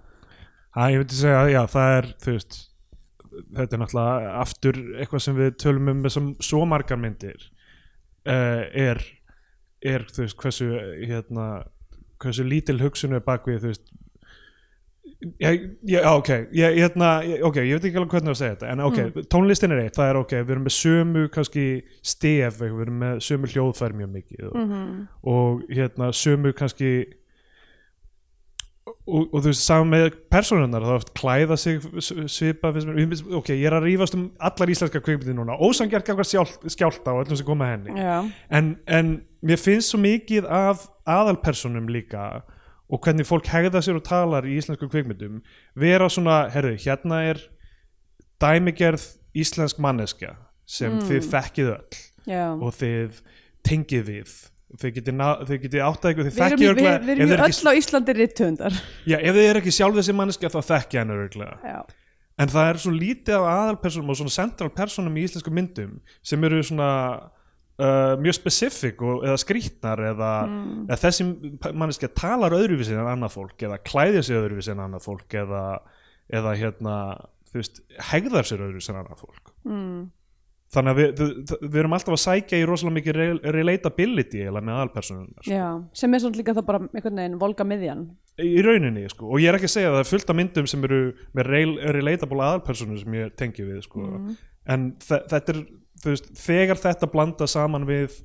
Já. Æ, ég veit að segja, já, það er þú veist, þetta er náttúrulega aftur eitthvað sem við tölum um með sem svo margar myndir uh, er, er þú veist, hversu hérna, hversu lítil hugsun er bak við, þú veist Ég, ég, já, ok, ég, hérna, ég, ok, ég veit ekki alveg hvernig að segja þetta en ok, Mm. tónlistin er eitt, það er ok við erum með sömu kannski stef við erum með sömu hljóðfæri mjög mikið og, Mhm. og hérna sömu kannski og, og þú veist, saman með persónunar þá oft klæða sig s- svipa finnst mér, Ég finnst- ok, ég er að rífast um allar íslenska kveikmyndi núna, ósangjart gafkvæm skjálta og öllum sem koma að henni Já. en, en mér finnst svo mikið af aðalpersonum líka og hvernig fólk hegða sér og talar í íslensku kvikmyndum vera svona, herðu, hérna er dæmigerð íslensk manneskja sem þið þekkið öll Já. og þið tengið við þið getið, ná- þið getið áttað ykkur þið Við erum, þekkið við, við erum örugglega- ef þið við er ekki- öll á Íslandi rithöndar Já, ef þið er ekki sjálf þessi manneskja þá þekki hann öruglega Já, en það er svo lítið af aðalpersonum og svona central personum í íslensku myndum sem eru svona uh, mjög specific og, eða skrýtnar eða, Mm. eða þessi manneskja talar öðruvísi en annað fólk eða klæðir sig öðruvísi en annað fólk eða, eða hérna þú veist, hegðar sér öðruvísi en annað fólk mm. þannig að við, við, við erum alltaf að sækja í rosalega mikið re- relatability eða með aðalpersonum Já. sem er svolítið líka það bara einhvern veginn volga miðjan í rauninni sko. og ég er ekki að segja að það er fullt af myndum sem eru með rel- relatable aðalpersonu sem ég tengi við sko. Mm. en þe- þetta er þú veist, þegar þetta blanda saman við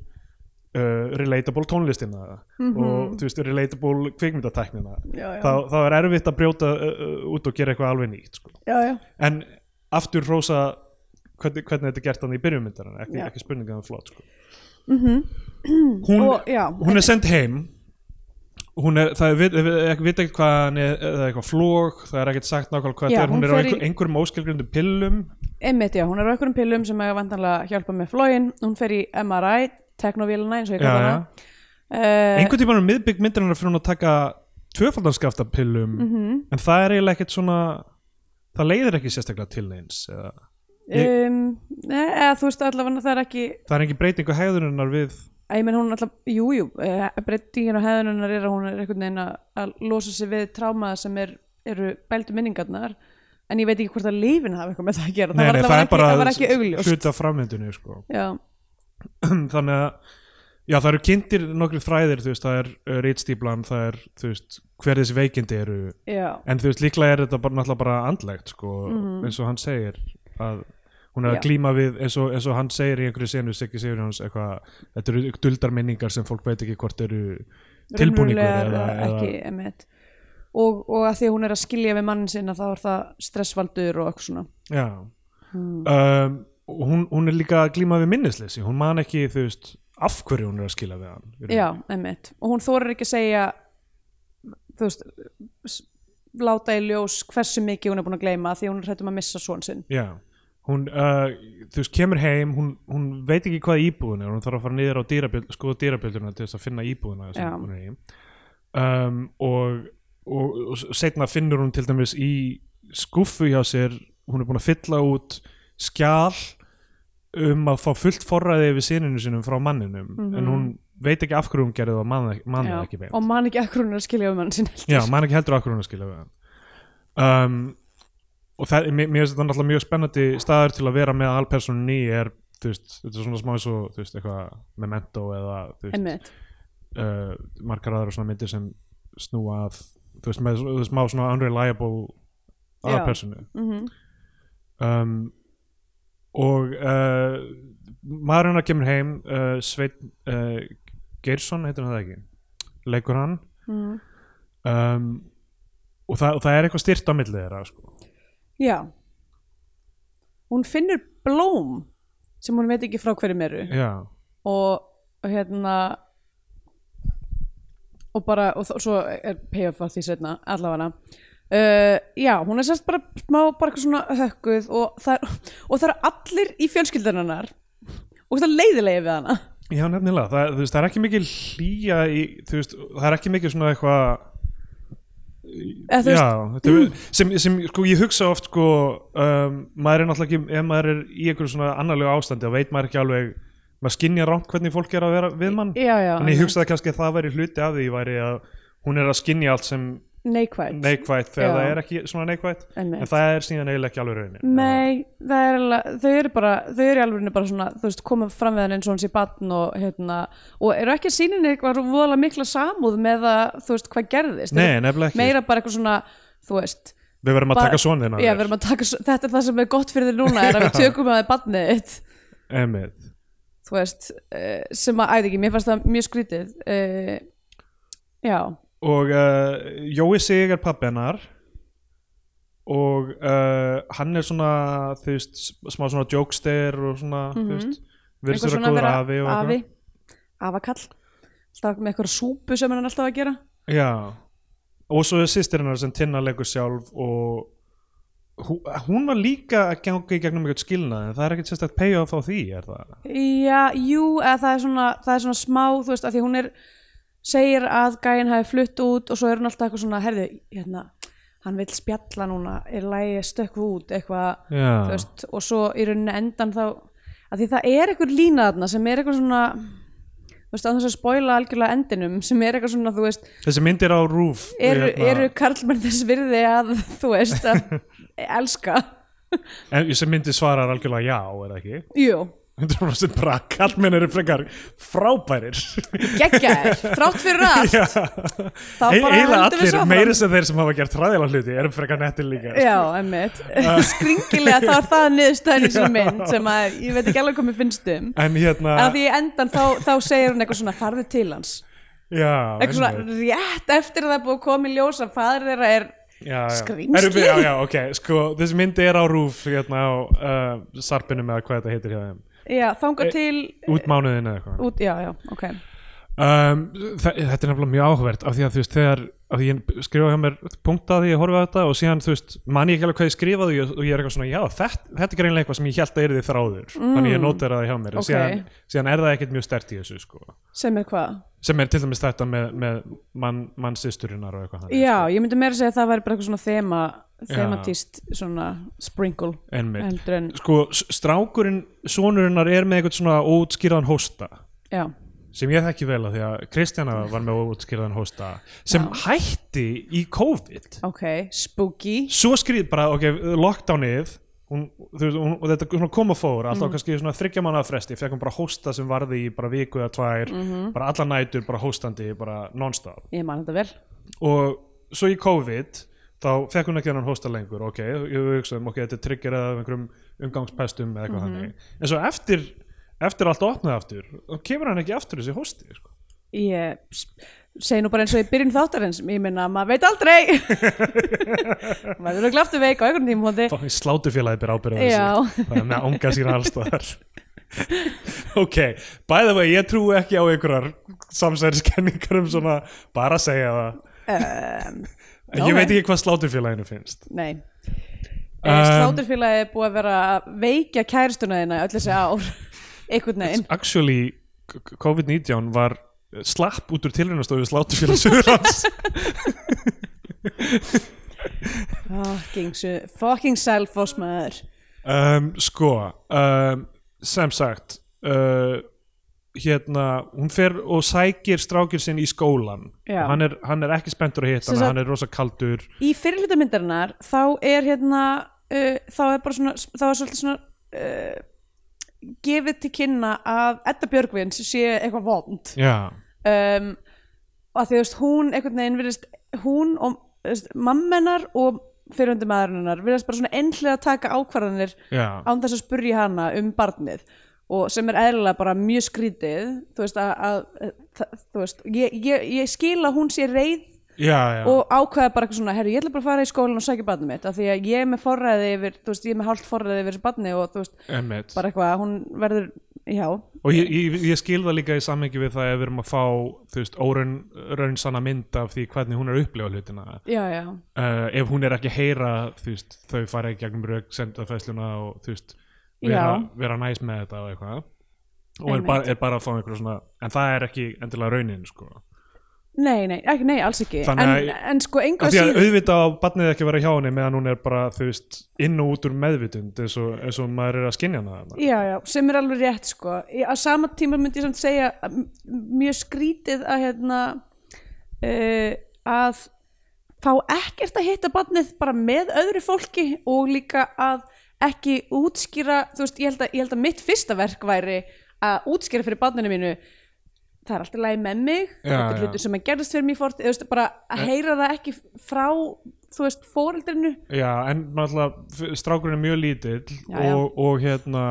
uh, relatable tónlistina og þú veist, relatable kvikmyndateknina Mhm. Já, já. þá, þá er erfitt að brjóta uh, uh, út og gera eitthvað alveg nýtt sko. Já, já, en aftur rosa hvernig, hvernig þetta er gert hann í byrjumyndarinn ekki, Já. Mhm. ekki spurninga um flott sko. hún, Og, já. hún er send heim hún er, það er, við, við, við veit ekkert hvað hann er, það er eitthvað flók það er ekkert sagt nákvæmlega hvað Já, þetta er, hún, hún er á fer einhver, í- einhverjum óskilgrundu pillum einmitt, já, hún er á einhverjum pillum sem er vantanlega að hjálpa með flóin hún fer í MRI, teknovélina eins og ég Já, kallar já. hana uh, einhvern tímann er miðbygg myndirinn fyrir hún að taka tvöfaldanskafta pillum Mhm. en það er eiginlega ekkert svona það leiðir ekki sérstaklega til neins eða, um, e, eða, þú veist allavega það er ekki það er engin breyting á hegðuninnar við að ég menn hún alltaf, jú, jú eh, breytingin á hefðununar er að hún er einhvern veginn að- að losa sig við trámaða sem er, eru bældu minningarnar en ég veit ekki hvort að lífin hafi eitthvað með það að gera Nei, það, nei, var, það er ekki, bara það var ekki augljóst hluti af framvindunni sko. já, þannig að Já, það eru kynntir nokkri þræðir, þú veist, það er uh, ritstíplan, það er, þú veist, hver þessi veikindi eru, já, en þú veist, líklega er þetta bara, náttúrulega bara andlegt, sko, eins og hann segir að hún er að Mhm. Já. glíma við, eins og, eins og hann segir í einhverju senu, Siggi Sigur Jóns, eitthvað, þetta eru duldar minningar sem fólk veit ekki hvort eru tilbúningur raunverulegar eða, eða ekki emitt og, og að því að hún er að skilja við mannin sinna þá er það stressvaldur og eitthvað svona Já Mm. um, og hún, hún er líka að glíma við minnisleysi, hún man ekki þú veist, af hverju hún er að skila við hann í raun. já, emitt, og hún þorir ekki að segja þú veist s- láta í ljós hversu mikið hún er búin að gleyma því hún er hrættum að missa svon sinn Já, hún uh, þú veist, kemur heim, hún, hún veit ekki hvað íbúðin er, hún þarf að fara niður á dýrabjöld, skoða dýrabjölduna til þess að finna íbúðina Já. sem hún er í um, og, og, og setna finnur hún til dæmis í skúffu hjá sér, hún er búin að fylla út skjal um að fá fullt forræði yfir sininu sinum frá manninum, en hún veit ekki af hverju hún gerði það og man, man Mhm. Já, það ekki beint og man ekki að hún er að skilja við mannin sinn heldur. Já, maður er ekki heldur akkur hún að skilja við hann um, og það, mér, mér finnst þetta náttúrulega mjög spennandi staður til að vera með alpersonin í er, þú veist, þetta er svona smá eins og þú veist, eitthvað memento eða þú veist, einmitt, uh, margar aðra svona myndir sem snúa að þú veist, með svona- smá svona unreliable Já. aðalpersonu mm um, og uh, maður hennar kemur heim uh, Sveinn uh, Geirsson heitir hann það ekki leikur hann Mm. um, og, það, og það er eitthvað styrt á milli þeirra sko. já hún finnur blóm sem hún veit ekki frá hverjum eru já, og og hérna og bara og þó, svo er payoff að því setna allavega uh, já, hún er sérst bara smá bara eitthvað svona hökkuð og það, er, og það er allir í fjölskyldarinnar og það leiðilegi við hana já nefnilega það, þú veist, það er ekki mikil hlýja í, þú veist, það er ekki mikil svona eitthvað Eða, þú já, veist, mm. þetta er, sem, sem sko, ég hugsa oft sko, um, maður er náttúrulega ekki ef maður er í einhverju svona annarlegu ástandi þá veit maður ekki alveg, maður skinja rangt hvernig fólk er að vera við mann já, já, en ég hugsaði kannski að það væri hluti af því væri að hún er að skinja allt sem neikvæð neikvætt þegar Já. það er ekki svona neikvætt Einmitt. en það er síðan eiginlega ekki alveg raunin Nei, það er alveg, þau eru bara þau eru í alveg bara svona, þú veist, koma fram við hann eins og hans í batn og hérna og eru ekki að sýnin eitthvað voðalega mikla samúð með að, þú veist, hvað gerðist Nei, Eru nefnilega ekki. meira bara eitthvað svona, þú veist við verðum að bara- taka svona þinn já, við erum að taka, svo- þetta er það sem er gott fyrir þér núna er að við tökum að þið batnið þitt Emmett þú veist, eh, sem að, æði ekki, mér fannst það mjög skrítið uh, já, og uh, Jói Sig er pappi hennar og uh, hann er svona þú veist, smá svona jokester og svona, þú veist virðist Mhm. eitthvað vera svona góður vera afi og afi eitthvað. afakall, alltaf með eitthvað súpu sem hann er alltaf að gera já og svo er sýstir hennar sem Tinna leikur sjálf og hú- hún var líka að ganga í gegnum eitthvað skilnað en það er ekkert sérstætt payoff á því er það Já, jú, eða það er svona, það er svona smá, þú veist, að því hún er segir að gæinn hafi flutt út og svo er hún alltaf eitthvað svona, herðu, hérna hann vill spjalla núna, er lægi stökku út eitthvað, Já. þú veist og svo í rauninni endan þá að því það er eitthvað lína þarna sem er eitthvað svona þú veist, að þess að spoila algjörlega endinum sem er eitthvað svona, þú veist þessi myndir á rúf eru, hérna- eru karlmenn þess virði að, þú veist, að elska, en þessi myndir svarar algjörlega já er það ekki jú 100% bara kallmenn eru frekar frábærir geggjaðir, þrátt fyrir allt Já. Þá Ei- bara eiginlega höldum við allir, svo áfram. meira sem þeir sem hafa gert hræðilega hluti eru frekar nettir líka sko. Já, emmitt. Skringilega þá er það niðurstæðin í sinni mynd sem að ég veit ekki alveg hvað mér finnst um. en hérna En að því í endan þá, þá segir hún eitthvað svona farðu til hans. Eitthvað já, einmitt. svona rétt eftir að það er búið að koma í ljós að fadir þeirra er já, já. skrímsli. Erum við- já, já, ok, sko, þessi myndi er á rúf hérna á uh, sarpinum eða hvað þetta heitir hjá þeim Já, þanga til út mánuðin eða eitthvað út, já, já, ok. um, þa- þetta er nefnilega mjög áhugavert af því að þú veist þegar af því ég skrifa hjá mér punkta því ég horfa á þetta og síðan þú veist man ég ekki alveg hvað ég skrifaði og ég- og ég er eitthvað svona já þetta, þetta er greinlega eitthvað sem ég held að yrði þráður þannig ég notar það hjá mér Mm. ok. okay. síðan, síðan er það ekkert mjög stert í þessu sko Sem er hvað? sem er til dæmis þetta með, með mann, mann sýsturinnar og eitthvað þannig, Já, ég myndi meira segja að það væri bara eitthvað svona þema, Já. thematíst svona sprinkle sko. Einmitt. heldur en, sko s- strákurinn sonurinnar er með eitthvað svona óutskýrðan hósta já, sem ég þekki vel að því að Kristjana var með óutskýrðan hósta sem hætti í COVID ok, spooky. svo skrýð bara, ok, lockdownið hún, þú veist, hún, og þetta svona kom og fór alltaf kannski svona þryggja manna fresti fekk hún bara hósta sem varði í bara viku eða tvær bara alla nætur bara hóstandi bara non-stop ég man þetta vel og svo í COVID þá fekk hún ekki hennan hósta lengur ok, ég hugsaðum, ok, þetta er trigger eða af einhverjum umgangspestum eða eitthvað þannig en svo eftir, eftir allt opnaði aftur þá kemur hann ekki aftur þessi hósti sko. ég s- segi nú bara eins og ég byrjun þáttarins ég minna, maður veit aldrei maður verður glaftu veik á einhvern tímhóndi Fucking slátufélagi ber ábyrða Já. þessu það er með að ánga sína allstaðar ok, by the way ég trúi ekki á einhverjar samsæriskenningar um svona bara að segja það um, ég Ok. veit ekki hvað slátufélaginu finnst nei um, Um, sláturfélagi er búið að vera að veikja kæristuna þina öll þessi ár einhvern veginn actually k- k- COVID-19 var eh, slapp út úr tilraunastofu slátufélag Suðurlands fucking, su- fucking selfos maður um, sko um, sem sagt uh, hérna, hún fer og sækir strákir sinn í skólan Já. hann er, hann er ekki spenntur að hita Sem hana, sagt- hann er rosa kaldur í fyrirluta myndarinnar þá er hérna uh, þá er bara svona þá er svolítið svona uh, gefið til kynna að Edda Björgvins sé eitthvað vond já, um, og að því þú veist hún einhvern veginn virðist hún og þú veist, mammenar og fyrirhundi maðurinnar virðist bara svona einhlega taka ákvarðanir já, án þess að spurja hana um barnið og sem er eðlilega bara mjög skrítið þú veist að, að það, þú veist, ég, ég, ég skil að hún sé reið já, já. og ákveða bara eitthvað svona, herru, ég ætla bara að fara í skólan og sækja barnið mitt, af því að ég er með forræði yfir, þú veist, ég er með hálft forræði yfir þessu barni og þú veist, Einmitt. bara eitthvað, hún verður já, og ég, ég, ég skil það líka í samhengi við það ef við erum að fá þú veist, óraun raun sanna mynd af því hvernig hún er að upplifa hlutina já, já uh, ef hún er ekki að heyra þú veist, þau fara í gegnum rök sendafæsluna og þú veist vera, Já. vera næs með þetta og eitthvað og er Einmitt. bara, er bara að fá einhverja svona en það er ekki endilega raunin sko. nei, nei, ekki, nei, alls ekki Þannig en, að- en sko, af enga því að síður auðvitað á barnið ekki að vera hjá henni meðan hún er bara þú veist, inn og út úr meðvitund eins og, eins og maður er að skinja hana þarna. já, já, sem er alveg rétt, sko Í- á sama tíma myndi ég samt segja að m- mjög skrítið að hérna uh, að fá ekkert að hitta barnið bara með öðru fólki og líka að ekki útskýra þú veist, ég held að, ég held að mitt fyrsta verk væri að útskýra fyrir barninu mínu það er alltaf lægi með mig Já, þetta er já. hlutur sem að gerðist fyrir mig fórt veist, bara að heyra það ekki frá þú veist, fóreldrinu Já, en náttúrulega f- strákurinn er mjög lítill Já, já. Og, og hérna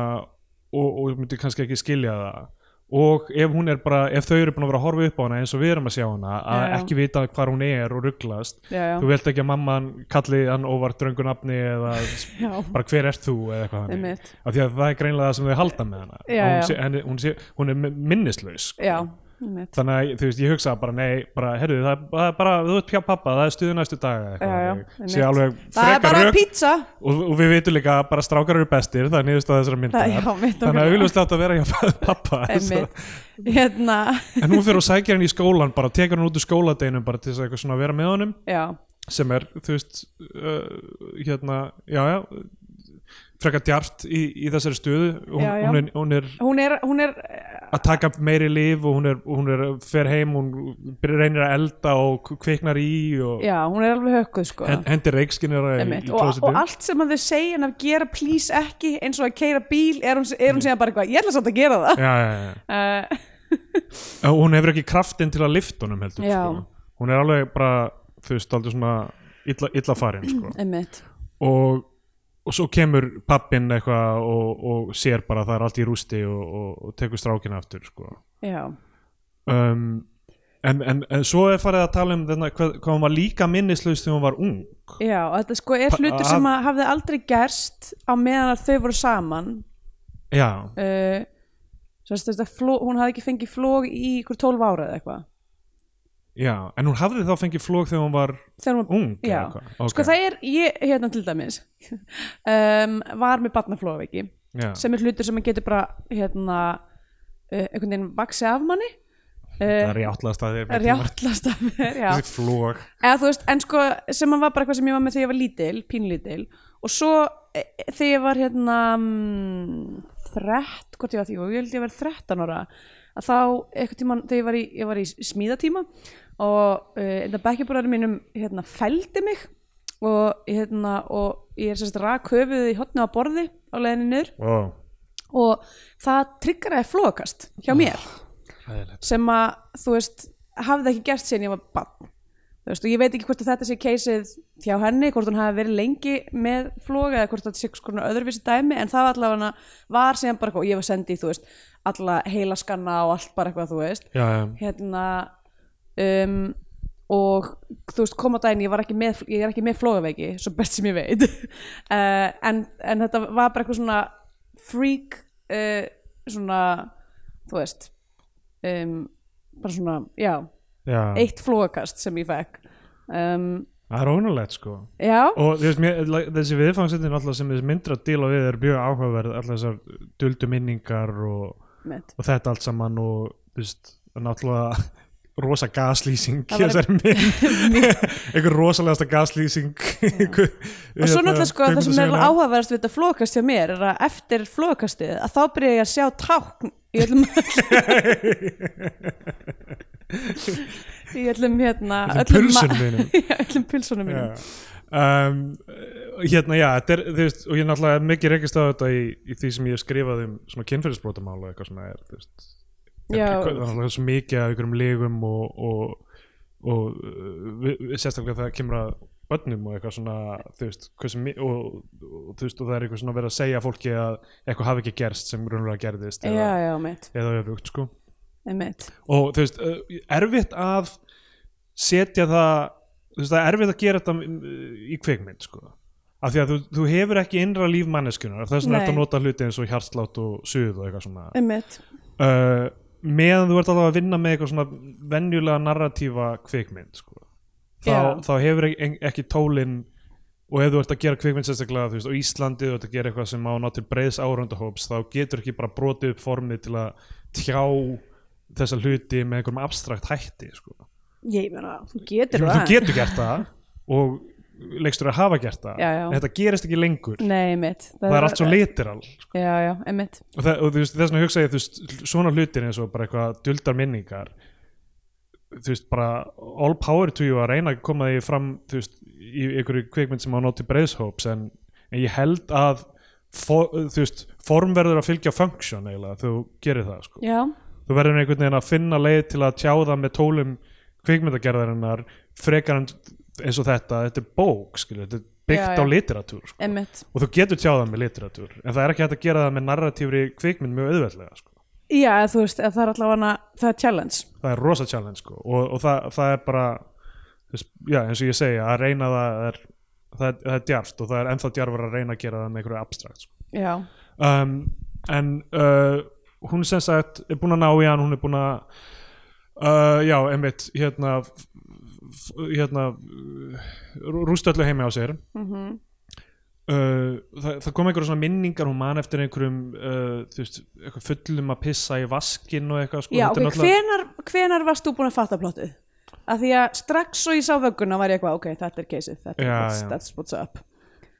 og, og myndi kannski ekki skilja það og ef hún er bara, ef þau eru búin að vera að horfa upp á hana eins og við erum að sjá hana að Já, já. ekki vita hvar hún er og rugglast já, já, þú veit ekki að mamman kalli hann óvart dröngu nafni eða s- já, bara hver ert þú eða eitthvað þannig Einmitt. af því að það er greinlega það sem þau halda með hana Já, Og hún, já. sé, henni, hún, sé, hún er mi- minnislaus sko. já, einmitt. þannig að þú veist, ég hugsaði bara nei, bara, herru, það, er- það er bara þú ert hjá pappa, það er stuðu næstu Já, daga já, eitthvað, þannig. einmitt. sé alveg það er bara frekar rök pizza og, og við veitum líka að bara strákar eru bestir það er niðurstaða þessara myndar Það- já, mitt þannig að okkur. auðvitað átt að vera hjá pappa einmitt. hérna, en hún fyrir og sækja hann í skólan bara tekur hann út úr skóladeinum bara til þess að eitthvað svona vera með honum já sem er, þú veist uh, hérna, já já frekar djart í, í þessari stöðu hún, Já, já. Hún, er, hún er hún er, hún er eh, að taka meiri líf og hún er, hún er fer heim, hún byrjar reynir að elda og kviknar í og já, hún er alveg hökkuð sko hen- hendir reikskinir í, Einmitt, í og, og klósitið allt sem að þau segja en að gera please ekki eins og að keira bíl er hún, er hún síðan bara eitthvað, ég ætla samt að gera það já, já, já. uh, Já, hún hefur ekki kraftinn til að lifta honum heldur Já. sko. hún er alveg bara þú veist, aldrei svona illa, illa farin sko. einmitt og, og svo kemur pappinn eitthvað og, og sér bara að það er allt í rústi og, og, og tekur strákina aftur sko. já, um, en, en, en svo er farið að tala um þarna, hvað, hvað hún var líka minnislaus þegar hún var ung já, og þetta sko er Pa- hlutur sem að hafði aldrei gerst á meðan að þau voru saman já, uh, sérst, þetta, fló, hún hafði ekki fengið flóg í ykkur 12 ára eða eitthvað já, en hún hafði þá fengið flók þegar hún var þegar hún ung eða Já. eitthvað. okay. Sko það er, ég, hérna til dæmis, um, var með barnaflóðveiki Já. sem er hlutur sem að getur bara, hérna, uh, einhvern veginn vaksi af manni. það Uh, er rjátlast að þér með tímann. Rjáttlast af mér, já. þessi flók Eða, þú veist, en sko, sem að var bara eitthvað sem ég var með þegar ég var lítil, pínlítil, og svo e, e, þegar ég var, hérna, mm, þrett, hvort ég var því, og ég held ég var 13 ára, að þá, eitthvað tíma, þegar ég var í, e, ég var í smíðatíma og uh, enda bekkjabúrarinn mínum, hérna, fældi mig og, hérna, og ég er sérst rak höfuðið í hotnu á borði á leiðinni niður wow. og það triggeraði flókast hjá mér Æðilegt. sem að, þú veist, hafði ekki gerst síðan ég var bann þú veist, og ég veit ekki hvort að þetta sé keisið hjá henni, hvort hún hafi verið lengi með flog eða hvort þetta sé svona öðruvísi dæmi en það var allavega var síðan bara eitthvað og ég var sendið, þú veist, alla heila skanna og allt bara eitthvað, þú veist já, já, hérna um, og þú veist kom á daginn ég, var ekki með, ég er ekki með flógaveiki svo best sem ég veit uh, en, en þetta var bara eitthvað svona freak uh, svona þú veist um, bara svona, já, já. eitt flógakast sem ég fekk um, það er ónulegt sko já, og þú veist, mér, like, þessi viðfangsendin alltaf sem þessi myndir að díla við er mjög áhugaverð alltaf þessar duldu minningar og, mitt og þetta allt saman og þú veist, og náttúrulega rosa gaslýsing í Það var þessari mynd einhver rosalegasta gaslýsing og Hérna, svo náttúrulega sko það sem er áhugaverðast við þetta flókast hjá mér er að eftir flókastið að þá byrja ég að sjá tákn í öllum í öllum hérna Öllum ma- pulsunum þínum. Já, öllum pulsunum mínum um, hérna já, þetta er, þú veist, og ég náttúrulega hef mikið rekist á þetta í, í því sem ég hef skrifað um svona kynferðisbrotamál og eitthvað svona er, þú veist, er, Já. það er náttúrulega svo mikið af einhverjum legum og, og, og uh, vi- vi- sérstaklega þegar kemur að börnum og eitthvað svona þú veist, hversu, mi- og, og, þú veist, og það er eitthvað svona verið að segja fólki að eitthvað hafi ekki gerst sem raunlega gerðist já, eða, já, mitt, eða öfugt sko mitt. og þú veist, uh, erfitt að setja það þú veist, það er erfitt að gera þetta uh, í kveikmynd sko, af því að þú, þú hefur ekki innra líf manneskunar, þess vegna Nei. ertu að nota hluti eins og hjartslátt og suð og eitthvað svona mitt. uh, meðan þú ert alveg að vinna með eitthvað svona venjulega narratífa kveikmynd sko. þá, Já. þá hefur ekki, ekki tólin og ef þú ert að gera kveikmynd sérstaklega þú veist, og Íslandi þú ert að gera eitthvað sem á ná til breiðs árundahóps þá getur ekki bara brotið upp formið til að tjá þessa hluti með einhverjum abstrakt hætti sko. ég meina, þú getur þú það getur gert það og leikstur að hafa gert það Já, já. en þetta gerist ekki lengur nei, mitt það er allt svo literal já, já, mitt, og, það, og þú veist, þess vegna hugsa ég þú veist, svona hlutir eins og bara eitthvað duldar minningar þú veist, bara all power to you að reyna að koma því fram þú veist, í einhverju kvikmynd sem á nóti breiðshóps en, en ég held að for, þú veist, form verður að fylgja function eiginlega, þú gerir það sko. já, þú verður einhvern veginn að finna leið til að tjá það með tólum kvikmyndagerðarinnar frekar en eins og þetta þetta er bók, skilur, þetta er byggt Já, já. á literatúr sko mitt og þú getur tjáð það með literatúr en það er ekki hægt að gera það með narratífri kvikmynd mjög auðveldlega sko. já, eða þú veist, eða það er allavega það er challenge það er rosa challenge sko. og, og það, það er bara þú veist, já, eins og ég segi að reyna það er, það er, það er djarft og það er ennþá djarfar að reyna að gera það með einhverju abstrakt sko. já, um, en uh, hún sem sagt er búin að ná í hann hún er búin að uh, já, einmitt hérna f- f- hérna rúst öllu heimi á sér mhm Uh, það, það kom einhverjum svona minningar hún man eftir einhverjum uh, þú veist, eitthvað fullum að pissa í vaskinn og eitthvað sko, Já, þetta ok, er náttúrulega- hvenar, hvenar varst þú búin að fatta plottið? Af því að strax svo ég sá vögguna var ég eitthvað, ok, þetta er keisið, þetta er Já, what's, já. that's what's up.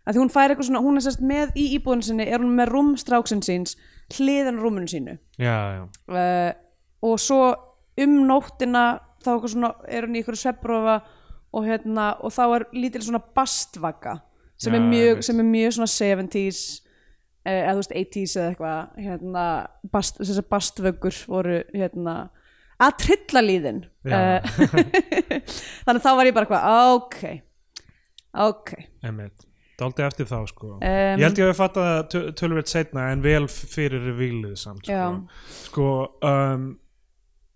Af því hún fær eitthvað svona, hún er sérst með í íbúðinu sinni, er hún með rúm stráksinn síns, hliðan rúmunu sínu. já, já, Uh, og svo um nóttina, þá eitthvað svona, er hún í ykkur svepprofa og hérna, og þá er lítil svona bastvagga sem, Já, er, mjög, einmitt. sem er mjög svona 70s, eh, eða þú veist 80s eða eitthvað hérna, bast, þessar bastvöggur voru hérna, að trilla líðin Já. Eh, þannig að þá var ég bara eitthvað ok ok einmitt dálítið eftir þá sko Em. ég held ég að við fatta það tölvöld setna en vel fyrir revílið samt sko, Já. sko um,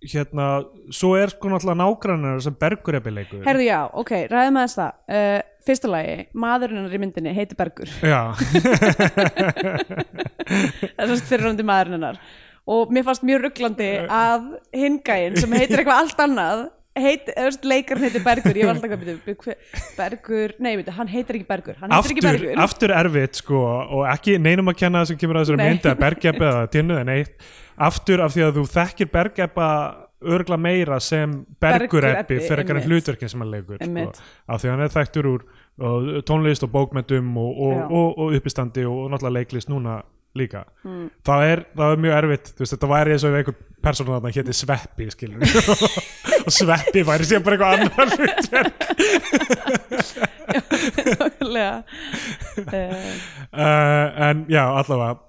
hérna, svo er sko náttúrulega nágrannar sem bergur eppi leikur herðu já, ok, ræðum aðeins það uh, fyrsta lagi, maðurinn hennar í myndinni heitir Bergur, já, þessast fyrirrandi maðurinn hennar og mér fannst mjög rugglandi að hingæin sem heitir eitthvað allt annað heit, öfst, leikarinn heitir Bergur ég var alltaf að byrja, Bergur nei, byrja, hann heitir ekki Bergur hann heitir ekki aftur, Bergur aftur erfitt sko og ekki neinum að kenna sem kemur að þessari Nei. mynd að bergeppa eða tinnu eða neitt aftur af því að þú þekkir bergeppa örgla meira sem bergureppi Bergureppi, fyrir einhverjum einmitt. hlutverkin sem hann leikur sko, Einmitt. af því að hann er þekktur úr og, tónlist og bókmentum og, og, Já. og, og uppistandi og, og náttúrulega leiklist núna líka Hmm. það, er, það er mjög erfitt þú veist, þetta væri eins og ef einhver persónu þarna héti Sveppi skilur og sveppi væri síðan bara eitthvað annar hlutverk nákvæmlega. Eh, uh, en já, allavega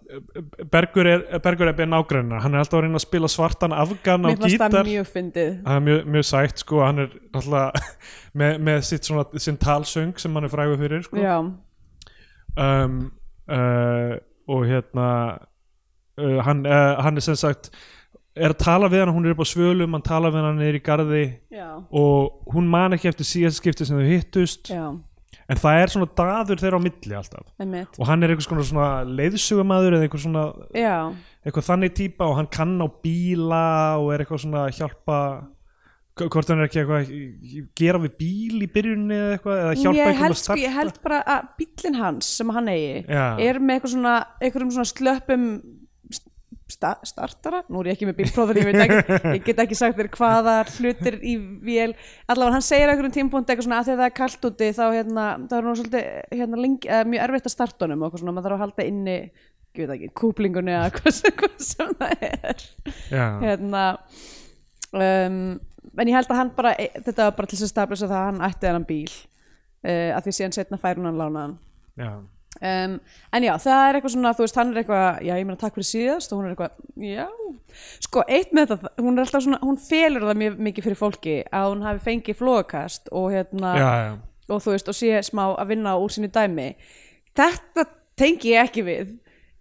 Bergur er, Bergur er bein nágrunna hann er alltaf að reyna að spila svartan afgan á Mér fannst það gítar mjög fyndið. það er mjög, mjög sætt sko, hann er alltaf með, með sitt svona, sinn talsöng sem hann er frægur fyrir sko. Já, um, uh, og hérna uh, hann, uh, hann er sem sagt er að tala við hann, hún er upp á svölum hann tala við hann er í garði já, og hún man ekki eftir síðast skipti sem þau hittust já, en það er svona daður þeirra á milli alltaf einmitt. og hann er einhvers konar svona leiðsugumæður eða einhver svona, Já, eitthvað þannig típa og hann kann á bíla og er eitthvað svona að hjálpa hvort hann er ekki eitthvað að gera við bíl í byrjunni eða eitthvað eða hjálpa ég einhverjum held, að sko, starta ég held bara að bíllinn hans sem hann eigi Já. er með eitthvað svona, einhverjum svona slöppum sta startara, nú er ég ekki með bílpróður ég, veit ekki, ég get ekki sagt þér hvaða hlutir í vél, allavega hann segir á einhverjum tímpúnt eitthvað svona að þegar það er kalt úti þá hérna, það er nú svolítið hérna, lengi, eða, mjög erfitt að starta honum og eitthvað svona, maður þarf að halda inni ég veit ekki, kúplingunni eða hvað sem, hvað sem það er Já, hérna um, en ég held að hann bara e, þetta var bara til þess að stablisa það að hann ætti þennan bíl uh, að því síðan setna fær hún hann lánaðan já, um, en já, það er eitthvað svona, þú veist, hann er eitthvað já, ég meina takk fyrir síðast og hún er eitthvað já, sko, eitt með þetta hún er alltaf svona, hún felur það mjög mikið fyrir fólki að hún hafi fengið flókast og hérna, já, já. og þú veist, og sé smá að vinna úr sínu dæmi þetta tengi ég ekki við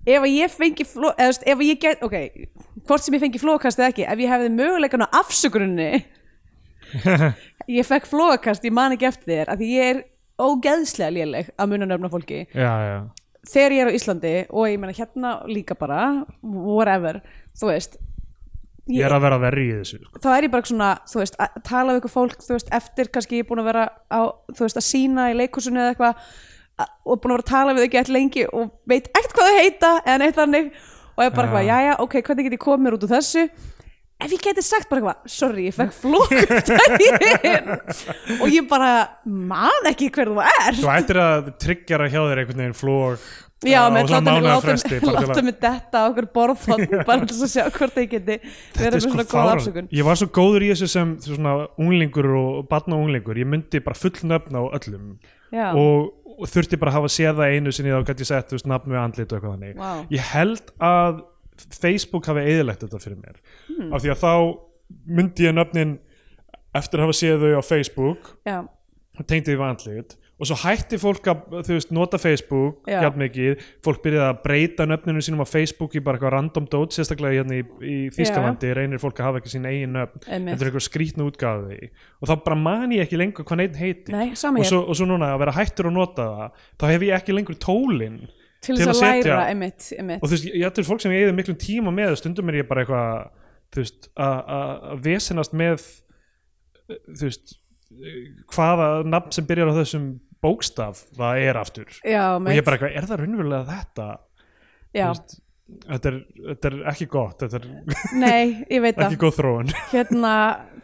ef að ég fengi fló, eða, þú veist, ef að ég get, ok hvort sem ég fengi flókast eða ekki, ef ég hefði möguleikan á afsökuninni ég fekk flókast, ég man ekki eftir þér af því ég er ógeðslega léleg að muna nöfna fólki já, já. þegar ég er á Íslandi og ég meina hérna líka bara whatever, þú veist ég er að vera verri í þessu sko. þá er ég bara svona, þú veist, að tala við ykkur fólk, þú veist, eftir kannski ég er búin að vera á, þú veist, að sína í leikhúsinu eða eitthvað a- og búin að vera að tala við þau gett lengi og veit ekkert hvað þau heita eða neitt þannig og ég bara eitthvað, Já. jæja, ok, hvernig get ég komið mér út úr þessu ef ég geti sagt bara eitthvað, sorry, ég fekk flókutægin og ég bara man ekki hver þú er þú ættir að tryggjara hjá þér einhvern veginn eh, flók Já, á með láta svona mig, mánaðar láta fresti, mig, bara til að- láta mig detta á okkur borðhótt bara til þess að sjá hvort ég geti verið Þetta með er sko svona góð fáran afsökun Ég var svo góður í þessu sem svona unglingur og barn og unglingur Ég myndi bara full nöfn á öllum Já, og, og þurfti bara að hafa séð það einu sinni þá gæti ég sett þú veist nafn með andlit og eitthvað þannig Vá. Ég held að Facebook hafi eðilegt þetta fyrir mér Hmm. af því að þá myndi ég nöfnin eftir að hafa séð þau á Facebook já, og tengdi því við andlit og svo hætti fólk að þú veist, nota Facebook Já. jafn mikið, fólk byrjaði að breyta nöfninu sínum á Facebook í bara eitthvað random dót sérstaklega hérna í, í Þýskalandi reynir fólk að hafa ekki sín eigin nöfn Einmitt. þetta er eitthvað skrýtnu útgáði og þá bara man ég ekki lengur hvað neitt heiti Nei, sama og, hér. svo, og svo núna að vera hættur að nota það þá hef ég ekki lengur tólin til þess að setja- læra, einmitt, einmitt og þú veist, ég þetta er fólk sem ég eða miklum tíma með stundum er ég bara eitthvað þú veist, að- að að vesenast með þú veist hvaða nafn sem byrjar á þessum bókstaf það er aftur Já, og ég mitt, bara eitthvað, er það raunverulega þetta Þú já, veist, þetta er, þetta er ekki gott þetta er nei, ég veit ekki það góð þróun hérna,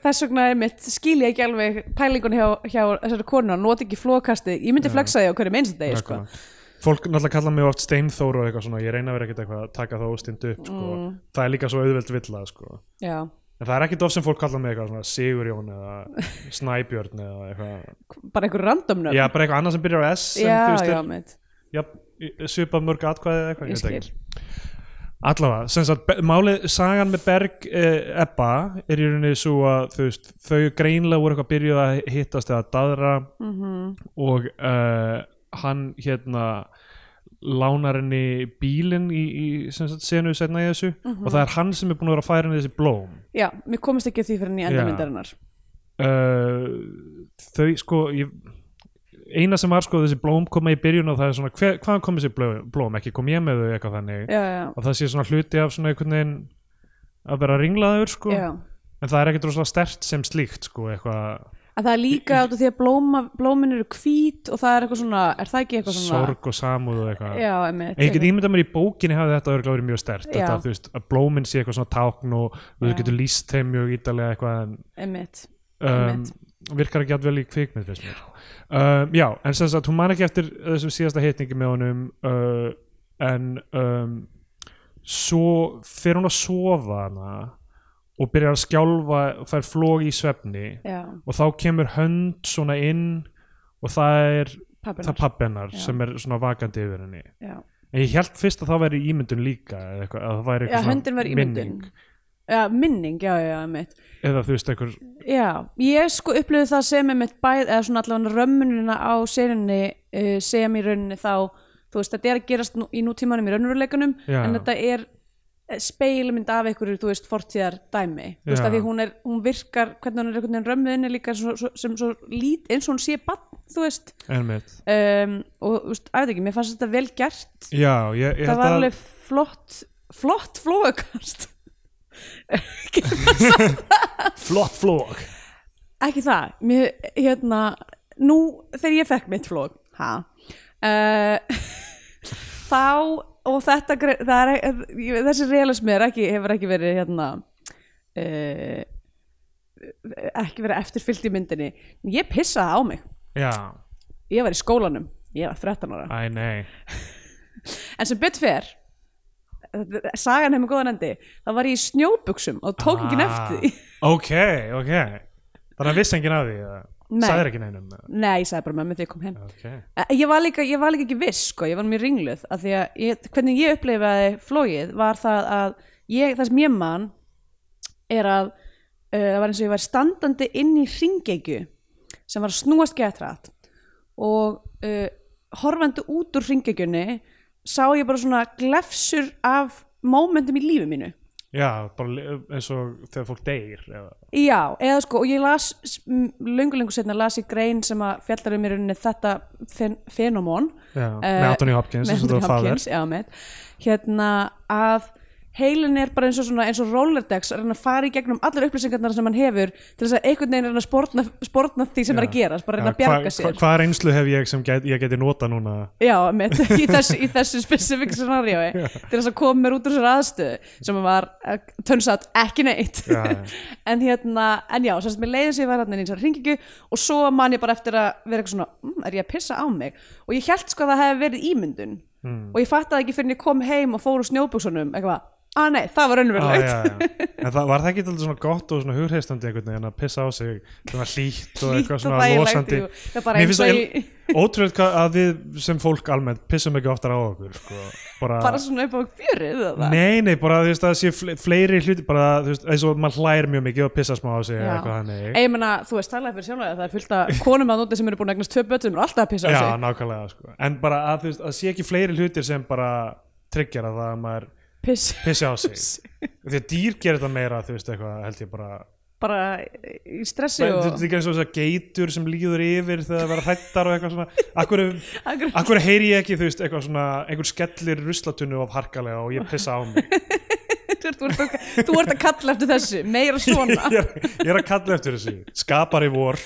þess vegna er mitt skil ég ekki alveg pælingun hjá, hjá þessari konu, hann noti ekki flókasti ég myndi flexa því á hverju minnst degi, sko Nákvæmlega. fólk náttúrulega kalla mig oft steinþóru og eitthvað svona, ég reyna að vera ekkert eitthvað að taka það óstindu upp sko. Mm. það er líka svo auðveld villa sko. já, en það er ekkert oft sem fólk kalla mig eitthvað svona Sigurjón eða Snæbjörn eða eitthvað bara einhver random nöfn Já, bara eitthvað annað sem byrjar á S sem já, þú veist já, er mitt, já, svipað mörg atkvæði eða eitthvað, ég veit skil ekki. Allavega, sem sagt, Be- málið, sagan með Berg eh, Ebba er í rauninni svo að þú veist, þau greinlega voru eitthvað byrjuð að hittast eða daðra Mhm. -hmm. og uh, hann hérna lánar henni bílinn í, í sem sagt, senu setna í þessu Mhm. og það er hann sem er búin að vera að færa henni þessi blóm já, mér komist ekki að því fyrir henni Já. endamyndarinnar uh, þau sko ég, eina sem var sko þessi blóm koma í byrjun og það er svona hver, hvaðan kom þessi blóm, blóm ekki kom ég með þau eitthvað þannig já, já, að það sé svona hluti af svona einhvern veginn að vera ringlaður sko já en það er ekkert rosalega stert sem slíkt sko eitthvað að það er líka át af því að blóma, blómin eru hvít og það er eitthvað svona, er það ekki eitthvað svona sorg og samúð og eitthvað já, einmitt, En ég get einmitt. ímyndað mér í bókinni hafði þetta örgulega verið mjög stert Já. þetta, þú veist, að blómin sé eitthvað svona tákn og þú Já. getur lýst þeim mjög ítalega eitthvað en einmitt. um, Einmitt. virkar ekki allvel í kvikmynd finnst mér um, já, en sem sagt, hún man ekki eftir þessum síðasta hitningi með honum uh, en um, svo fer hún að sofa hana og byrjar að skjálfa og fær flóg í svefni já, og þá kemur hönd svona inn og það er það pappinar pappi hennar Já. sem er svona vakandi yfir henni já. en ég held fyrst að það væri ímyndun líka eða eitthvað, að það væri já, eitthvað svona höndin var ímyndun minning. já, minning, já, já, já, mitt eða þú veist eitthvað Já, ég sko upplifði það sem einmitt bæð eða svona allavega römmunina á serinni uh, sem í rauninni þá þú veist, þetta er að gerast nú, í nútímanum í raunveruleikanum Já. en þetta er speilmynd af einhverju, þú veist, fortíðar dæmi, þú veist, Já. að því hún er hún virkar, hvernig hún er einhvern veginn römmuðinni líka svo, svo, sem svo lít, eins og hún sé bann, þú veist ennmitt um, og, þú veist, aðeins ekki, mér fannst þetta vel gert já, ég, það ég held var að alveg flott flott flóðkast flott flóg ekki það mér, hérna, nú þegar ég fekk mitt flók ha, uh, þá og þetta gre- það er, ég- þessi realismi er ekki, hefur ekki verið hérna uh, ekki verið eftirfyllt í myndinni ég pissaði á mig, já, ég var í skólanum ég var 13 ára, æ nei en sem betur fer sagan hefur góðan endi þá var ég í snjóbuksum og tók Ah. ekki eftir því ok, ok þannig að vissi enginn af því eða? Nei. sagðir ekki neinum eða? nei, ég sagði bara mömmu þegar ég kom heim ok, Eh, Ég var, líka, ég var líka ekki viss sko, ég var mjög ringluð af því að ég, hvernig ég upplifaði flóið var það að ég, það sem ég man er að uh, það var eins og ég var standandi inn í ringegju sem var að snúast getrætt og uh, horfandi út úr ringegjunni sá ég bara svona glefsur af mómentum í lífi mínu já, bara li- eins og þegar fólk deyr eða. Já, eða sko, og ég las s- m- löngu löngu setna las ég grein sem að fjallar um í rauninni þetta fen fenomón já, Eh, með Anthony Hopkins, með eins og þú Anthony faðir Hopkins, já, með, hérna að heilin er bara eins og, svona, eins og rollerdex að reyna að fara í gegnum allar upplýsingarnar sem hann hefur til þess að einhvern veginn reyna að spórna, spórna því sem er að gerast, bara reyna að bjarga sér hvað reynslu hef ég sem get, ég geti nota núna Já, mitt, í þessu, í þessu specific scenarioi til þess að koma mér út úr þessar aðstöðu sem var, tönnsat, ekki neitt Já, já. en hérna, en já, sem sagt mér leiðin sem ég var hérna inn í þessar hringingju og svo man ég bara eftir að vera eitthvað svona, mm, er ég að pissa á mig og ég held sko að það hefði verið ímyndun Hmm. og ég fattaði ekki fyrir en ég kom heim og fór úr snjóbuksunum, eitthvað, að nei, það var Ah, Já, raunverulegt já, já. en það var það ekki alltaf svona gott og svona hugreistandi einhvern veginn að pissa á sig svona hlýtt og Hlýtt eitthvað svona þægilegt, losandi jú. það er bara Mér eins finnst og það ég ótrúlega hvað að við sem fólk almennt pissum ekki oftar á okkur sko. bara, bara svona upp á fjörið eða það. nei, nei, bara þú veist að það sé fle- fleiri hluti bara þú veist, eins og maður hlægir mjög mikið og pissar smá á sig eða Já. eitthvað hannig Ei, Ég meina, þú veist, talaði fyrir sjálflega það er fullt að konum að núti sem eru búin að egnast tvö bötum er alltaf að pissa á já, sig, nákvæmlega sko. en bara að þú veist, að sé ekki fleiri hlutir sem bara tryggjar að það að maður piss pissi á sig því að dýr gerir það meira þú veist eitthvað held ég bara bara í stressi Þú og veist ekki eins og þess að geitur sem líður yfir þegar það vera hrættar og eitthvað svona Akkur, Akkur- akkur heyri ég ekki, þú veist, eitthvað svona einhver skellir ruslatunnu of harkalega og ég pissa á mig þú ert- þú ert að- þú ert að kalla eftir þessu, meira svona ég, er, ég er að kalla eftir þessu, skapar í vor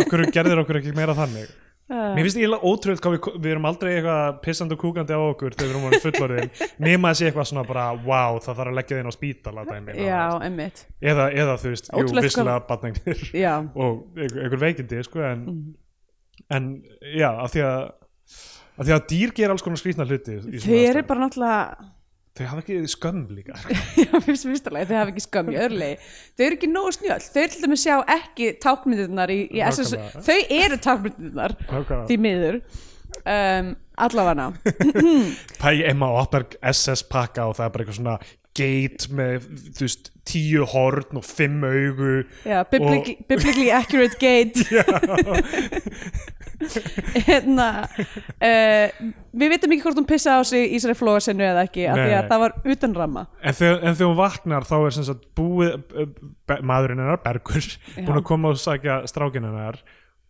Akkur gerðir okkur ekki meira þannig Já. Mér finnst eiginlega ótrúlega hvað við, við erum aldrei eitthvað pissandi og kúkandi á okkur þegar við erum orðin fullorðin nema að sé eitthvað svona bara, wow, það þarf að leggja þinn á spítala dæmi Já, emmitt eða, eða þú veist, jú, Ótrúlegt sko. hvað- visslega batningir Já, og einhver, einhver veikindi sko, en, Mm. en já, af því að af því að dýr gera alls konar skrýtna hluti í svona þau eru aðstæðum. bara náttúrulega þau hafa ekki skömm líka Já, fyrst fyrstulega, þau hafa ekki skömm í örlegi Þau eru ekki nógu snjöll, þau eru til dæmis sjá ekki tákmyndirnar í, í SS Nákvæmlega. Þau eru tákmyndirnar, Nákvæmlega. því miður um, Allafana pæ Emma Opperg SS pakka og það er bara eitthvað svona geit með þú veist, tíu horn og fimm augu Já, biblically, biblically accurate gate Hérna uh, Við vitum ekki hvort hún pissa á sig í þessari flóasinu eða ekki af Því Nei. að það var utan ramma En þegar, en þegar hún vaknar þá er sem sagt búið, eh, be, maðurinn hennar, Bergur, búin að koma og sagja strákinn hennar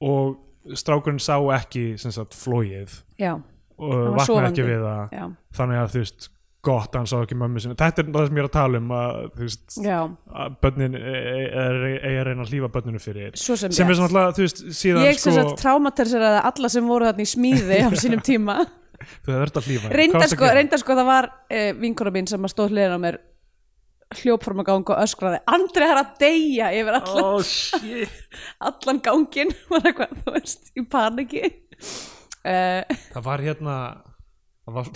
og strákurinn sá ekki sem sagt flóið Já, og var vaknaði sofandi. ekki við það. já, Þannig að þú veist, gott að hann sá ekki mömmu sinni. Þetta er það sem ég er að tala um að þú veist, já að börnin e, er að reyna að hlífa börninu fyrir. Svo sem Sem rétt. er svona alltaf, þú veist, síðan Ég sem sko, sagt traumatiseraði alla sem voru þarna í smíði á sínum tíma þú þarf að hlífa. henni. Hvað reyndar varstu að sko, gera? reynda sko það var uh, vinkona mín sem að stóð hliðin á mér hljóp fram að ganga og öskraði Andri er að deyja yfir allan, Oh shit. allan gangin var eitthvað, þú veist, í paniki uh, Það var hérna það var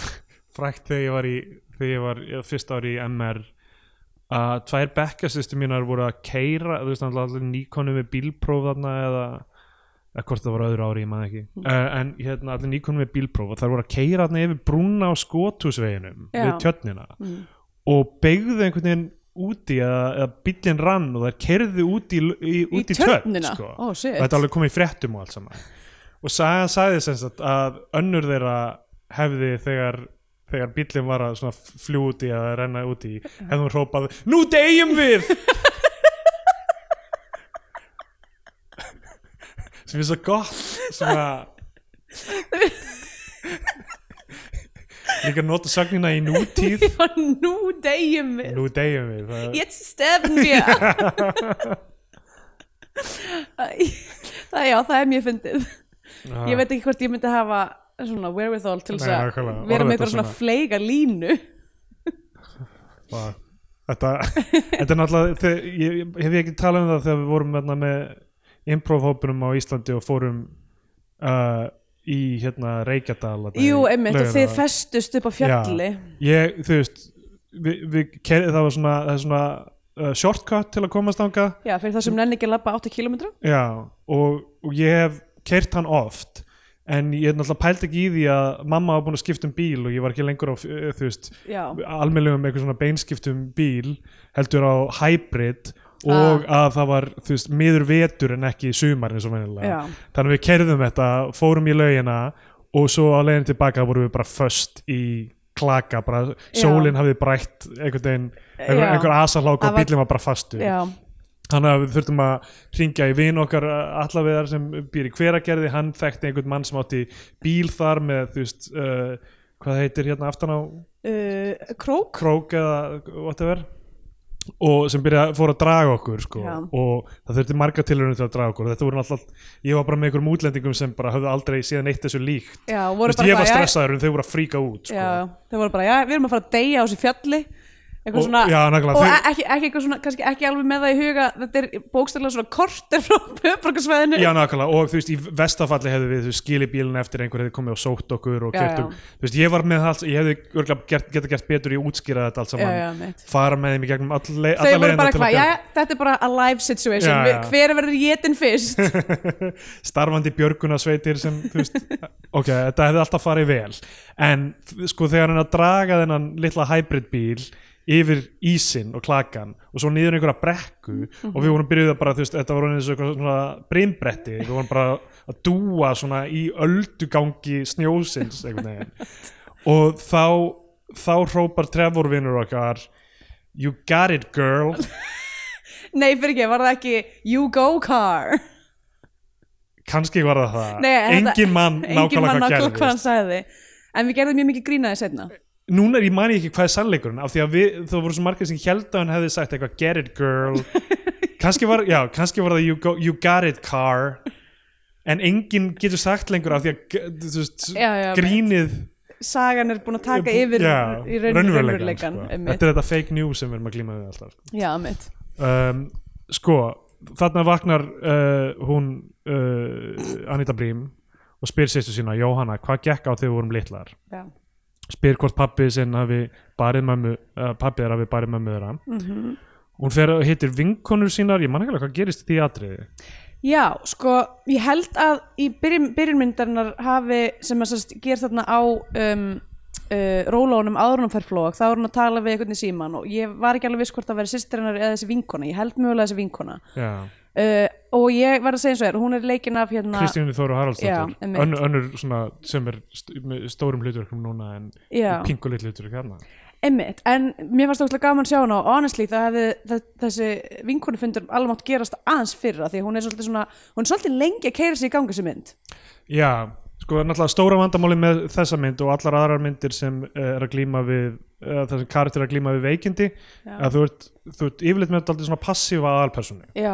frækt þegar ég var í þegar ég var fyrst ári í MR að tvær bekkasýstur mínar voru að keira þú veist náttúrulega allir Nikonu með bílpróf þarna eða, eða hvort það var öðru ári ég maður ekki uh, en hérna allir Nikonu með bílpróf og þær voru að keira þarna yfir brúna á skothúsveginum Já. við tjörnina og beigðu einhvern veginn úti eða, eða bíllinn rann og þær keirðu úti í, í, Í út í tjörn tjörnina? sko. Ó, shit. og þetta er alveg komið í fréttum og allt saman og sagan sagði sem sagt að önnur þeirra hefði þegar þegar bíllinn var að svona fljú úti eða renna úti í, hefði hún hrópað Nú deyjum við! sem er svo gott svona líka nota sagnina í nútíð Já, nú deyjum við Nú deyjum við það, Jetzt sterben wir Það já, það er mjög fyndið Já. Ég veit ekki hvort ég myndi hafa svona wherewithal til þess Nei, að nákvæmlega, orða vera með þetta eitthvað svona svona. fleiga línu bara, þetta, þetta er náttúrulega þe- ég, ég, hef ég ekki talað um það þegar við vorum hérna, með improv-hópunum á Íslandi og fórum uh, í hérna Reykjadal þarna í Jú, einmitt, og Laugardal. þið festust upp á fjalli ég, þú veist við, við, kerði, það var svona, það er svona uh, shortcut til að komast þangað Já, fyrir það Mm. sem nenni ekki að labba 8 km Já, og, og ég hef kert hann oft en ég er náttúrulega pælt ekki í því að mamma var búin að skipta um bíl og ég var ekki lengur á, eh, þú veist, Já. almennlegum eitthvað svona beinskiptum bíl heldur á hybrid og Ah. að það var, þú veist, miður vetur en ekki sumar eins og venjulega Já. þannig að við kerðum þetta, fórum í laugina og svo á leiðin tilbaka vorum við bara föst í klaka, bara Já. sólin hafði brætt einhvern veginn, Já. einhver, einhver asalák Það og var- bílinn var bara fastur Já, þannig að við þurftum að ringja í vin okkar allavegar sem býr í hveragerði hann þekkti einhvern mann sem átti bíl þar með þú veist uh, hvað heitir hérna aftan á uh, krók krók eða whatever og sem byrja, fór að draga okkur sko. Já. og það þurfti marga tilhörunum til að draga okkur þetta voru alltaf, ég var bara með einhverjum útlendingum sem bara höfðu aldrei síðan eitt þessu líkt Já, Þú voru veist, bara ég var bara, já, stressaður en þau voru að fríka út sko. Já, þau voru bara, já, við erum að fara að deyja á þessu fjalli eitthvað Og- svona, já, nákvæmlega, og e- þau- ekki, ekki eitthvað svona, kannski ekki alveg með það í huga þetta er bókstæðlega svona korter frá höfbrukarsvæðinu Já, nákvæmlega, og þú veist, í vestafalli hefðu við þú veist, skilið bílinn eftir einhver hefði komið og sótt okkur og Já, gert já. okkur, þú veist, ég var með það allt, ég hefði örgulega gert, geta gert betur í að útskýra þetta allt já, saman, já, mitt fara með þeim í gegnum all, le, Þau alla voru bara leiðina til eitthvað, að já, þetta er bara a live situation, Já, já, já. hver verður jétin fyrst bjarga starfandi björgunasveitir sem, þú veist, ok, þetta hefði alltaf farið vel, en sko þegar hann að draga þennan litla hybridbíl yfir ísinn og klakan og svo niður einhverja brekku Mhm. og við vorum byrjuð að bara, þú veist, þetta var orðið eins og eitthvað svona brimbretti, við vorum bara að dúa svona í öldugangi snjósins einhvern veginn og þá, þá hrópar Trevor vinnur okkar You got it girl Nei, fyrir ekki, var það ekki you go car kannski var það það Nei, þetta- engin mann Engin mann nákvæmlega nákvæmlega hvað hvað gerðist hann sagði En við gerðum mjög mikið grínaði setna núna er ég mani ekki hvað er sannleikurinn af því að við, þá voru svo margir sem held að hann hefði sagt eitthvað get it girl kannski var, já, kannski var það you, go, you got it car en enginn getur sagt lengur af því að g- þú veist, Já, já, grínið Sagan er búin að taka yfir já, í raun- raunveruleikann, raunveruleikan sko. einmitt. þetta er þetta fake news sem við erum að glíma við alltaf sko. Já, mitt um, sko þarna vaknar uh, hún uh, Anita Brím og spyr sýstu sína, Jóhanna, hvað gekk á þegar við vorum litlar Já, spyr hvort pappi sinn hafi barið mömmu, uh, pappi þeirra hafi barið mömmu þeirra Mhm. hún fer og hittir vinkonur sínar, ég man ekki alveg hvað gerist í því atriði Já, sko, ég held að í byrjun, byrjunmyndarinnar hafi sem að sérst ger þarna á um, uh, rólónum áður en hún fer flók þá er hún að tala við einhvern í síman og ég var ekki alveg viss hvort að vera sýstir hennar eða þessi vinkona, ég held mjögulega þessi vinkona já. uh, og ég verð að segja eins og er, hún er leikin af hérna Kristínu Þóru Haraldsdóttir Já, einmitt. Önn, önnur svona sem er st með stórum hluturkum núna en Já. pingulit hluturk hérna Einmitt, en mér varst okkur gaman að sjá hana og honestly það hefði þe- þessi vinkonu alveg mátt gerast aðeins fyrra því að hún er svolítið svona, hún er svolítið lengi að keira sig í gangi sem mynd Já, sko náttúrulega stóra vandamáli með þessa mynd og allar aðrar myndir sem eh, er að glíma við uh, það sem karakter er að glíma við veikindi að þú ert, þú ert yfirleitt með alltaf svona passífa aðalpersonu Já,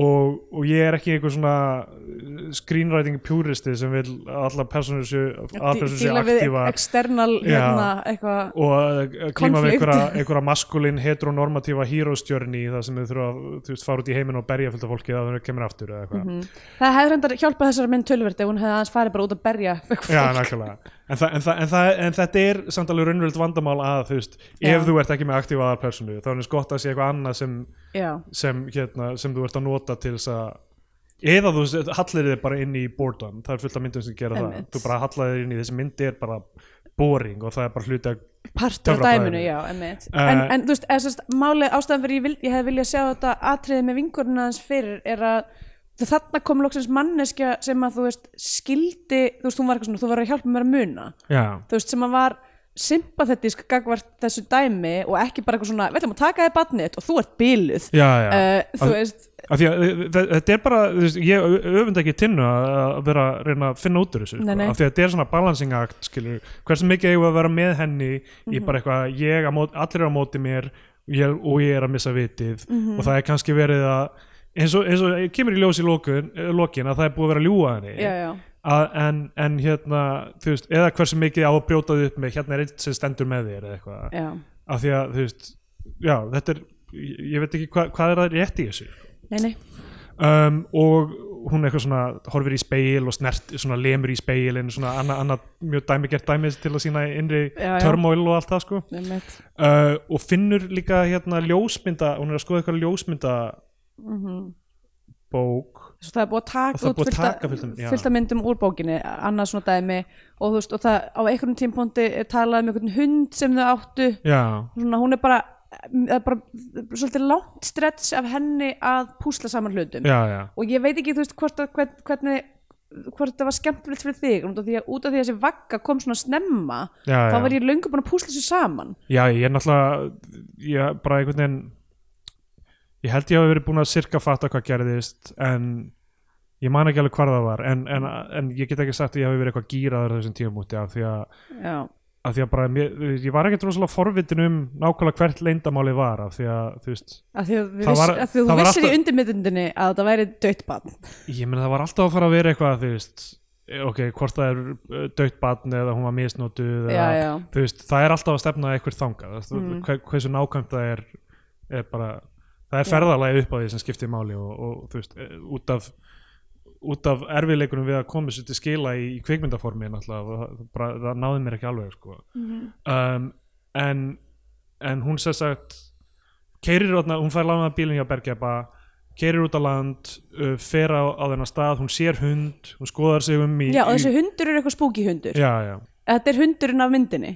og, og ég er ekki einhver svona uh, screenwriting puristi sem vil að allar personur séu, að personur séu Díla við aktífar external hérna, eitthvað og að- að klíma við Konflikt. einhverja, einhverja maskulin heteronormatífa hýróstjörni þar sem þau þurfa að þú veist, fara út í heiminn og berja fullt af fólki það þau kemur aftur eða eitthvað Mhm. Það hefði reyndar hjálpað þessari mynd tölverdi ef hún hefði aðeins farið bara út að berja fólk. Já, nákvæmlega en, þa en, þa en, þa en þetta er samt alveg raunvöld vandamál að þú veist, Já. ef þú ert ekki með aktífa aðalpersonu þá er þess gott að sé eitthvað annað sem, Já. sem, hérna, sem þú ert að nota til þess að eða þú veist, hallir þig bara inn í boredom það er fullt af myndum sem gera það Einmitt. þú bara hallar þig inn í þessi mynd er bara boring og það er bara hluti að partur af Töfrabræðinu. dæminu, já, emmitt Eh. en, en þú veist, eða sérst, málið ástæðan fyrir ég, vil, ég hefði viljað sjá þetta atriði með vingurinn aðeins fyrir er að þ- þarna kom loksins manneskja sem að þú veist, skildi þú veist, hún var eitthvað svona, þú verður að hjálpa mér að muna Já, þú veist, sem að var sympathetisk gagvart þessu dæmi og ekki bara eitthvað svona, við ætlum að taka þið batnið og þú ert bíluð já, já þú veist, Af því að uh, þe- þetta er bara, þú veist, ég ö- öfunda ekki tinnu að að vera að reyna að finna út úr þessu, Nei, sko. nei. af því að þetta er svona balancing act, skilur, hversu mikið eigum við að vera með henni Mhm. í bara eitthvað, ég á móti, allir eru á móti mér ég, og ég er að missa vitið Mhm. og það er kannski verið að, eins og, eins og kemur í ljós í lokun, eh, lokin að það er búið að vera að ljúga henni já, já að, en, en hérna, þú veist, eða hversu mikið á að brjóta þið upp með, hérna er einn sem stendur með þér eða eitthvað, Já. af því að, þú veist, já, þetta er, ég, ég veit ekki hva, hvað er að rétt í þessu, Nei, nei, um, og hún eitthvað svona horfir í speil og snert svona lemur í speilin svona annað anna, mjög dæmigert dæmi til að sína innri Já, já. turmoil og allt það sko einmitt uh, og finnur líka hérna ljósmynda hún er að skoða eitthvað ljósmynda Mhm. bók Svo það er búið að Og taka það er út búið að fullt af- taka fullt af- já. fullt af myndum úr bókinni, annað svona dæmi og þú veist, og það á einhvern tímpóndi er talað um einhvern hund sem þau áttu já, svona hún er bara, það er bara svolítið langt stretch af henni að púsla saman hlutum já, já og ég veit ekki, þú veist, hvort, að- hvern, hvernig hvort þetta var skemmtilegt fyrir þig út af því að, út af því að þessi vagga kom svona snemma Já, þá já. var ég löngu búin að púsla þessu saman já, ég er náttúrulega ég bara einhvern veginn ég held ég hafi verið búin að sirka fatta hvað gerðist en ég man ekki alveg hvar það var en, en, en ég get ekki sagt að ég hafi verið eitthvað gýraður á þessum tímamúti af því að Já, af því að bara, mér, ég var ekkert rosalega forvitin um nákvæmlega hvert leyndamálið var af því að, þú veist, af því að, við Það viss, var- að því að þú það var vissir í alltaf- undirmyndundinni að þetta væri dött barn ég meina það var alltaf að fara að vera eitthvað, þú veist eh, ok, hvort það er eh, dautt batn eða hún var misnotuð eða, Já, já. þú veist, það er alltaf að stefna eitthvað þangað, mm. hver, hversu nákvæmt það er er bara, það er ferðalagi upp á því sem skiptir máli og, og þú veist, eh, út af út af erfiðleikunum við að koma sér til skila í, í kvikmyndaformi náttúrulega og það, bara, það náði mér ekki alveg sko. um, en en hún sér sagt keirir, hún fær lánað bílinn hjá Bergeba keirir út á land uh, fer á, á þennan stað, hún sér hund hún skoðar sig um í Já, og í- þessi hundur er eitthvað spúki hundur já, já. Þetta er hundurinn af myndinni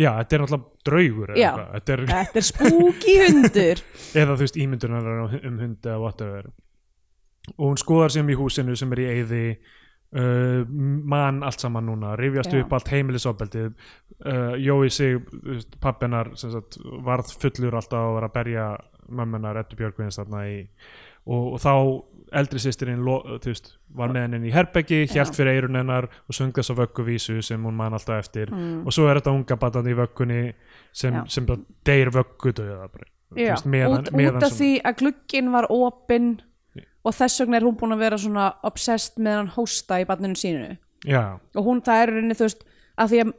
já, þetta er náttúrulega draugur eða Já. eitthvað. Þetta er, Þetta er spúki hundur eða þú veist ímyndunar um hund eða whatever og hún skoðar sig um í húsinu sem er í eyði uh, mann allt saman núna rifjast Já. upp allt heimilisofbeldið uh, Jói sig, þú veist, pappinar sem sagt, varð fullur alltaf að vera að berja mömmunar Eddu Björgvins þarna í og, og þá eldri sýstirinn lo- þú veist, var með henni í herbeggi hjælt fyrir eyrun hennar og söng þessa vögguvísu sem hún man alltaf eftir og svo er þetta unga batandi í vöggunni sem, Mm. Já. sem bara deyr vöggudauða bara Þú Já, veist, meðan, út, meðan út af svona- því að glugginn var opinn og þess vegna er hún búin að vera svona obsessed með hann hósta í barninu sínu já, og hún það er í rauninni þú veist að því að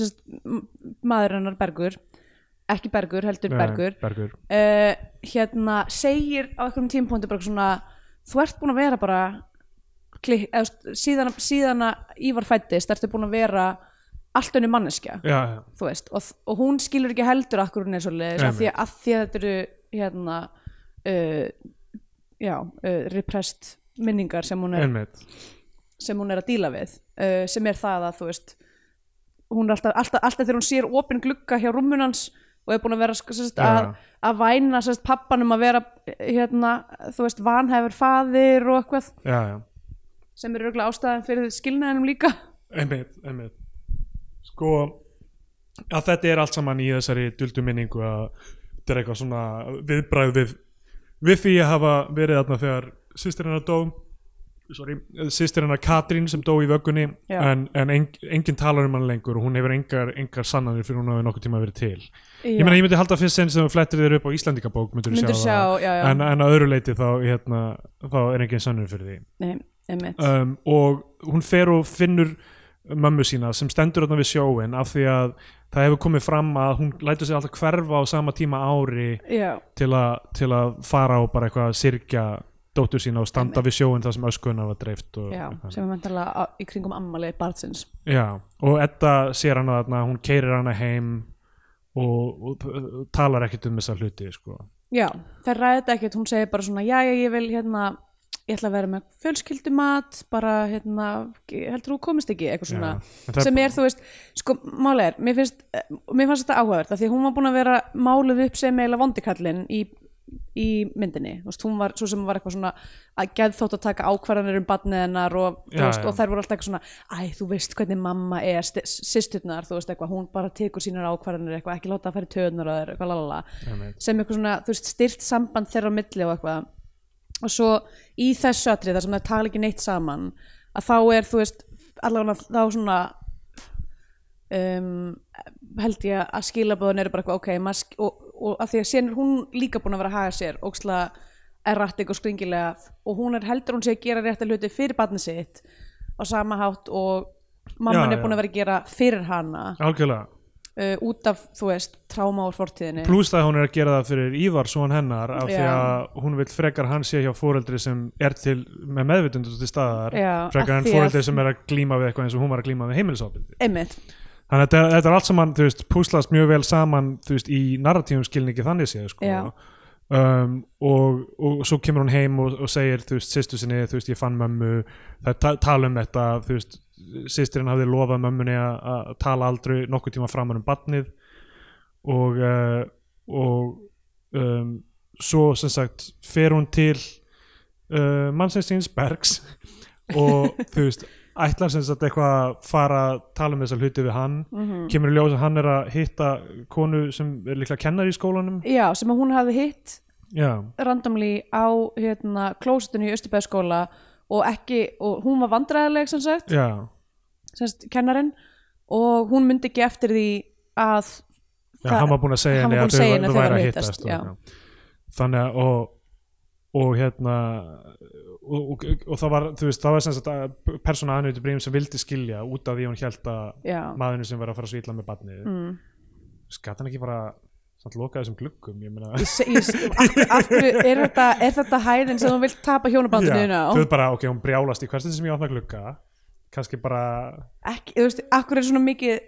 sérst, maður hennar Bergur ekki Bergur, heldur nei, Bergur bergur. uh, hérna segir á einhverjum tímpóndi bara svona þú ert búin að vera bara klik, eða, þú veist, síðan, síðan að Ívar fættist ertu búin að vera allt önnu manneskja Já, já, þú veist, og, og hún skilur ekki heldur akkur hún er svolítið, af því Einmitt. að, af því að þetta eru hérna uh, já, uh, repressed minningar sem hún er, einmitt sem hún er að díla við uh, sem er það að þú veist hún er alltaf, alltaf, alltaf þegar hún sér opin glugga hjá rúmmunans og er búin að vera sko, sérst, Já. að, að væna sérst, pappanum að vera hérna, þú veist, vanhæfur faðir og eitthvað já, já, sem er auðvitað ástæðan fyrir skilnaðinum líka einmitt, einmitt sko að þetta er allt saman í þessari duldu minningu að þetta er eitthvað svona viðbræð við, við því að hafa verið þarna þegar sýstir hennar dó sorry, sýstir hennar Katrín sem dó í vöggunni Já. en, en en, enginn talar um hann lengur og hún hefur engar, engar sannanir fyrir hún hafi nokkuð tíma verið til ég meina ég myndi halda fyrst sinn sem þú flettir þér upp á Íslandingabók myndur myndur sjá, já, já, en, en að öðru leiti þá, hérna, þá er engin sannur fyrir því nei, einmitt um, og hún fer og finnur mömmu sína sem stendur þarna við sjóin af því að það hefur komið fram að hún lætur sig alltaf hverfa á sama tíma ári já, til, a, til að fara og bara eitthvað að sirkja dóttur sína og standa við sjóin þar sem öskuðuna var dreift og, já, eitthvað. sem er mentalega í kringum ammali barnsins já, og Edda sér hana þarna, hún keirir hana heim og, og, og talar ekkert um þessa hluti sko. Já, þær ræða þetta ekkert, hún segir bara svona já, já, ég vil hérna, ég ætla að vera með fjölskyldumat, bara hérna heldur þú komist ekki, eitthvað svona en það sem er, þú veist, sko, máli er mér finnst, eh, mér fannst þetta áhugavert af því að hún var búin að vera máluð upp sem eiginlega vondikallin í, í myndinni þú veist, hún var, svo sem var eitthvað svona að geð þótt að taka ákvarðanir um barnið hennar og, þú Já, veist, já. og þær voru alltaf eitthvað svona æ, þú veist hvernig mamma er sýsturnar, þú veist, eitthvað, hún bara tekur sínar ákvarðanir eitthvað, ekki láta að færi töðunar að þeir, eitthvað lalala Einmitt. sem eitthvað svona, þú veist, styrt samband þeirra á milli og eitthvað og svo í þessu atrið þar sem það tala ekki neitt saman að þá er, þú veist, allavega þá svona um, held ég að skilabóðan eru bara eitthvað, ok, maður sk- og, og að því að síðan er hún líka búin að vera að haga sér óksla erratik og skringilega og hún er heldur hún sé að gera rétt að hluti fyrir barnið sitt á sama hátt og mamman Já, er búin já. að vera að gera fyrir hana algjörlega uh, út af, þú veist, tráma úr fortíðinni pluss að hún er að gera það fyrir Ívar svo hann hennar af því Já. að hún vil frekar hann sé hjá fóreldri sem er til með meðvitundu til staðar Já, frekar af en því að- fóreldri sem er að glíma við eitthvað eins og hún var að glíma við heimilisofbildi einmitt, þannig að þetta, þetta er allt saman, þú veist, púslast mjög vel saman þú veist, í narratífum skilningi þannig séð sko. Já. um, og, og svo kemur hún heim og, og segir, þú veist, sýstu sinni þú veist, ég fann mömmu, það ta tala um þetta þú veist, sýstirinn hafði lofað mömmunni að að tala aldrei nokkuð tíma framar um barnið og uh, og um, svo sem sagt fer hún til uh, mannsins síns Bergs og þú veist ætlar sem sagt eitthvað að fara að tala um þessa hluti við hann kemur í ljós að hann er að hitta konu sem er líklega kennar í skólanum já, sem að hún hafði hitt já, randomly á hérna, klósitinu í Östubæðskóla og ekki, og hún var vandræðileg sem sagt, já, sem sagt kennarinn og hún myndi ekki eftir því að já það- hann var búinn að segja hann var búinn henni að að þau segja væ- henni þau að þau væri væru að að hittast hittast, já. og, þannig að og, og hérna og, og, og það var, þú veist, það var sem sagt að persóna aðnöyti brím sem vildi skilja út af því hún held að já, maðurinn sem var að fara að svítla með barnið mm. skatt hann ekki bara samt loka þessum gluggum ég meina ég se- ég, af, af hverju er þetta, er þetta hæðin sem hún vil tapa Já, hjónabandinu þú yeah, veist bara, ok, hún brjálast í hversin sem ég opna glugga kannski bara ekki, þú veist, af hverju er svona mikið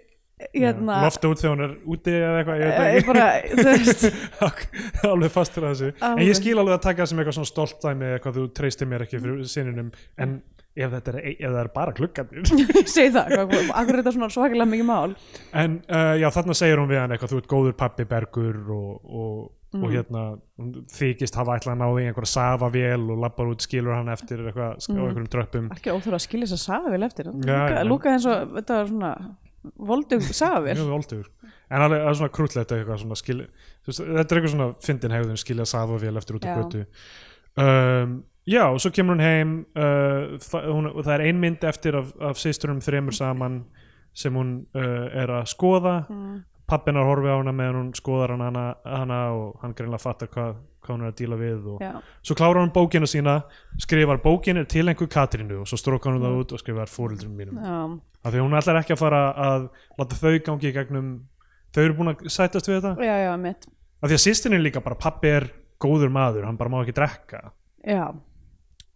hérna lofta út þegar hún er úti eða eitthvað ég eh, veit bara, þú veist ekki alveg fastur að þessu Alveg. en ég skil alveg að taka það sem eitthvað svona stolt dæmi eitthvað þú treystir mér ekki fyrir sininum en ef þetta er, e, ef það er bara gluggarnir ég segi það, hvað- hvað- af hverju er þetta svona svakalega mikið mál En uh, já, þarna segir hún við hann eitthvað, þú ert góður pappi Bergur og, og, Mm. og hérna hún þykist hafa ætlað að ná því einhverja safa vel og labbar út, skilur hann eftir eitthvað, mm. á einhverjum tröppum. algjör óþurfa að skilja þess að safa eftir já. lúka eins og þetta var svona voldug safa Mjög voldur. En alveg, það er svona krúllegt eitthvað svona skil, þú veist, þetta er eitthvað svona fyndin hegðun, skilja safa vel eftir út á Já. götu. Um, já, og svo kemur hún heim, uh, það, hún, og það er ein mynd eftir af, af sýsturum þremur saman sem hún uh, er að skoða. Mm. Pappinar horfi á hana meðan hún skoðar hann hana, hana og hann greinlega fattar hvað, hvað hún er að díla við og Já. svo klárar hún bókina sína, skrifar bókin er til einhver Katrínu og svo strókar Mm. hún það út og skrifar fóreldrum mínum Já, af því að hún ætlar ekki að fara að láta þau gangi í gegnum þau eru búin að sættast við þetta já, já, mitt af því að sýstinni líka bara pappi er góður maður hann bara má ekki drekka Já,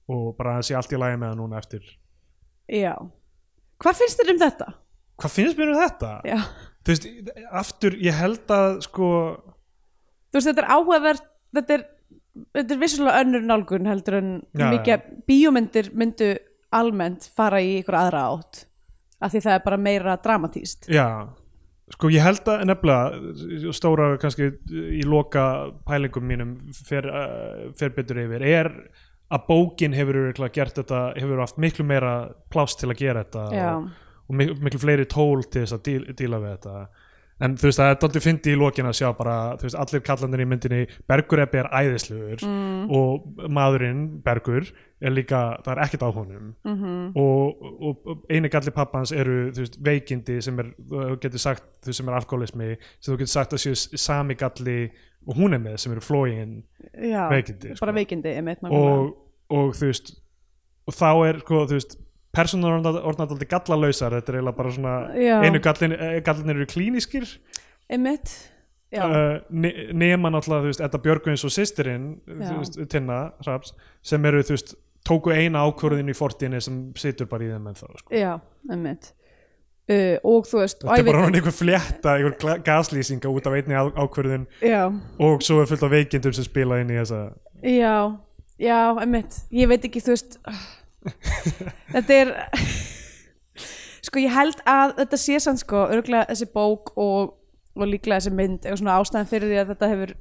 og bara að sé allt í lagi með hann núna eftir já Hvað finnst þér um þetta? hvað finnst mér um þetta? Já. þú veist, aftur ég held að sko Þú veist, þetta er áhugavert þetta er, þetta er vissulega önnur nálgun heldur en Já, mikið bíómyndir myndu almennt fara í ykkur aðra átt af því það er bara meira dramatíst já sko ég held að nefnilega stóra kannski í loka pælingum mínum fer, uh, fer betur yfir er að bókin hefur örugglega gert þetta hefur haft miklu meira pláss til að gera þetta Já, og, og mik miklu fleiri tól til þess að díl, díla við þetta en þú veist það er daldið fyndi í lokin að sjá bara þú veist allir kallandir í myndinni Bergur Ebbi er æðislugur mm, og maðurinn Bergur er líka, það er ekkert á honum Mhm. og, og, og eini galli pappans eru þú veist, veikindi sem er þú getur sagt, þú veist, sem er alkoholismi sem þú getur sagt að séu sami galli og hún er með sem eru flóin já, veikindi bara sko. veikindi einmitt, nákvæmlega. og, og þú veist og þá er sko, þú veist persónur orðnar- orðnar aldrei gallalausar þetta er eiginlega bara svona Já. einu gallin, gallin eru klínískir einmitt já, uh, ne- nema náttúrulega þú veist, Edda Björgvins og sýstirinn Já. þú veist, Tinna Hraps sem eru þú veist tóku eina ákvörðin í fortíðinni sem situr bara í þeim en þá sko. já, einmitt uh, og þú veist og Þetta ég er bara veit- hann einhver flétta, einhver gla- gaslýsinga út af einni á- ákvörðun já, og svo er fullt af veikindum sem spila inn í þessa Já, já, einmitt Ég veit ekki, þú veist Þetta er Sko, ég held að þetta sé sann sko, örgulega þessi bók og, og líklega þessi mynd eða svona ástæðan fyrir því að þetta hefur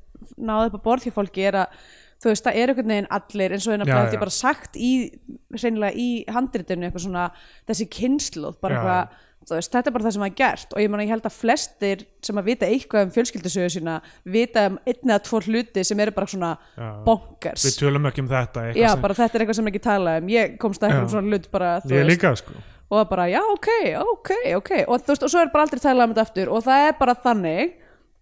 náð upp að borð hjá fólki er að þú veist, það er einhvern veginn allir eins og einn að Já, blæti já. bara sagt í reynilega í handritinu eitthvað svona þessi kynsluð, bara Já, já. eitthvað þú veist, þetta er bara það sem að gert og ég, man, ég held að flestir sem að vita eitthvað um fjölskyldisögu sína vita um einn eða tvo hluti sem eru bara svona Já. bonkers Við tölum ekki um þetta eitthvað já, sem- bara þetta er eitthvað sem ekki tala um ég komst ekki Já. um svona hlut bara þú Ég veist, líka sko og það bara, já, ok, ok, ok og, þú veist, og svo er bara aldrei talað um þetta aftur og það er bara þannig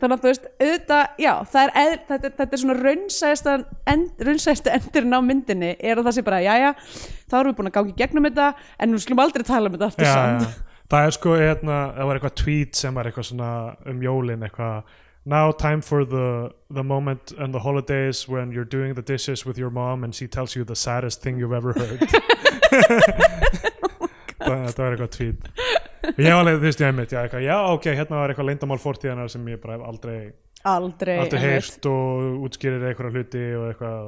þannig að þú veist, auðvitað, já, það er eðl, þetta, er- þetta er svona raunsæðasta end, raunsæðasta endurinn á myndinni er að það sé bara, já, já, þá erum við búin að gangi gegnum þetta en við slum aldrei tala um þetta aftur já, samt já. Það er sko, hérna, það var eitthvað tweet sem var eitthvað svona um jólin eitthvað Now time for the, the moment and the holidays when you're doing the dishes with your mom and she tells you the saddest thing you've ever heard Oh Það það var eitthvað tweet Og Ég var alveg, þú veist, ég einmitt, já, eitthvað, já, ok, hérna var eitthvað leyndamál fortíðanar sem ég bara hef aldrei, aldrei, aldrei einmitt, heyrt og útskýrir eitthvað hluti og eitthvað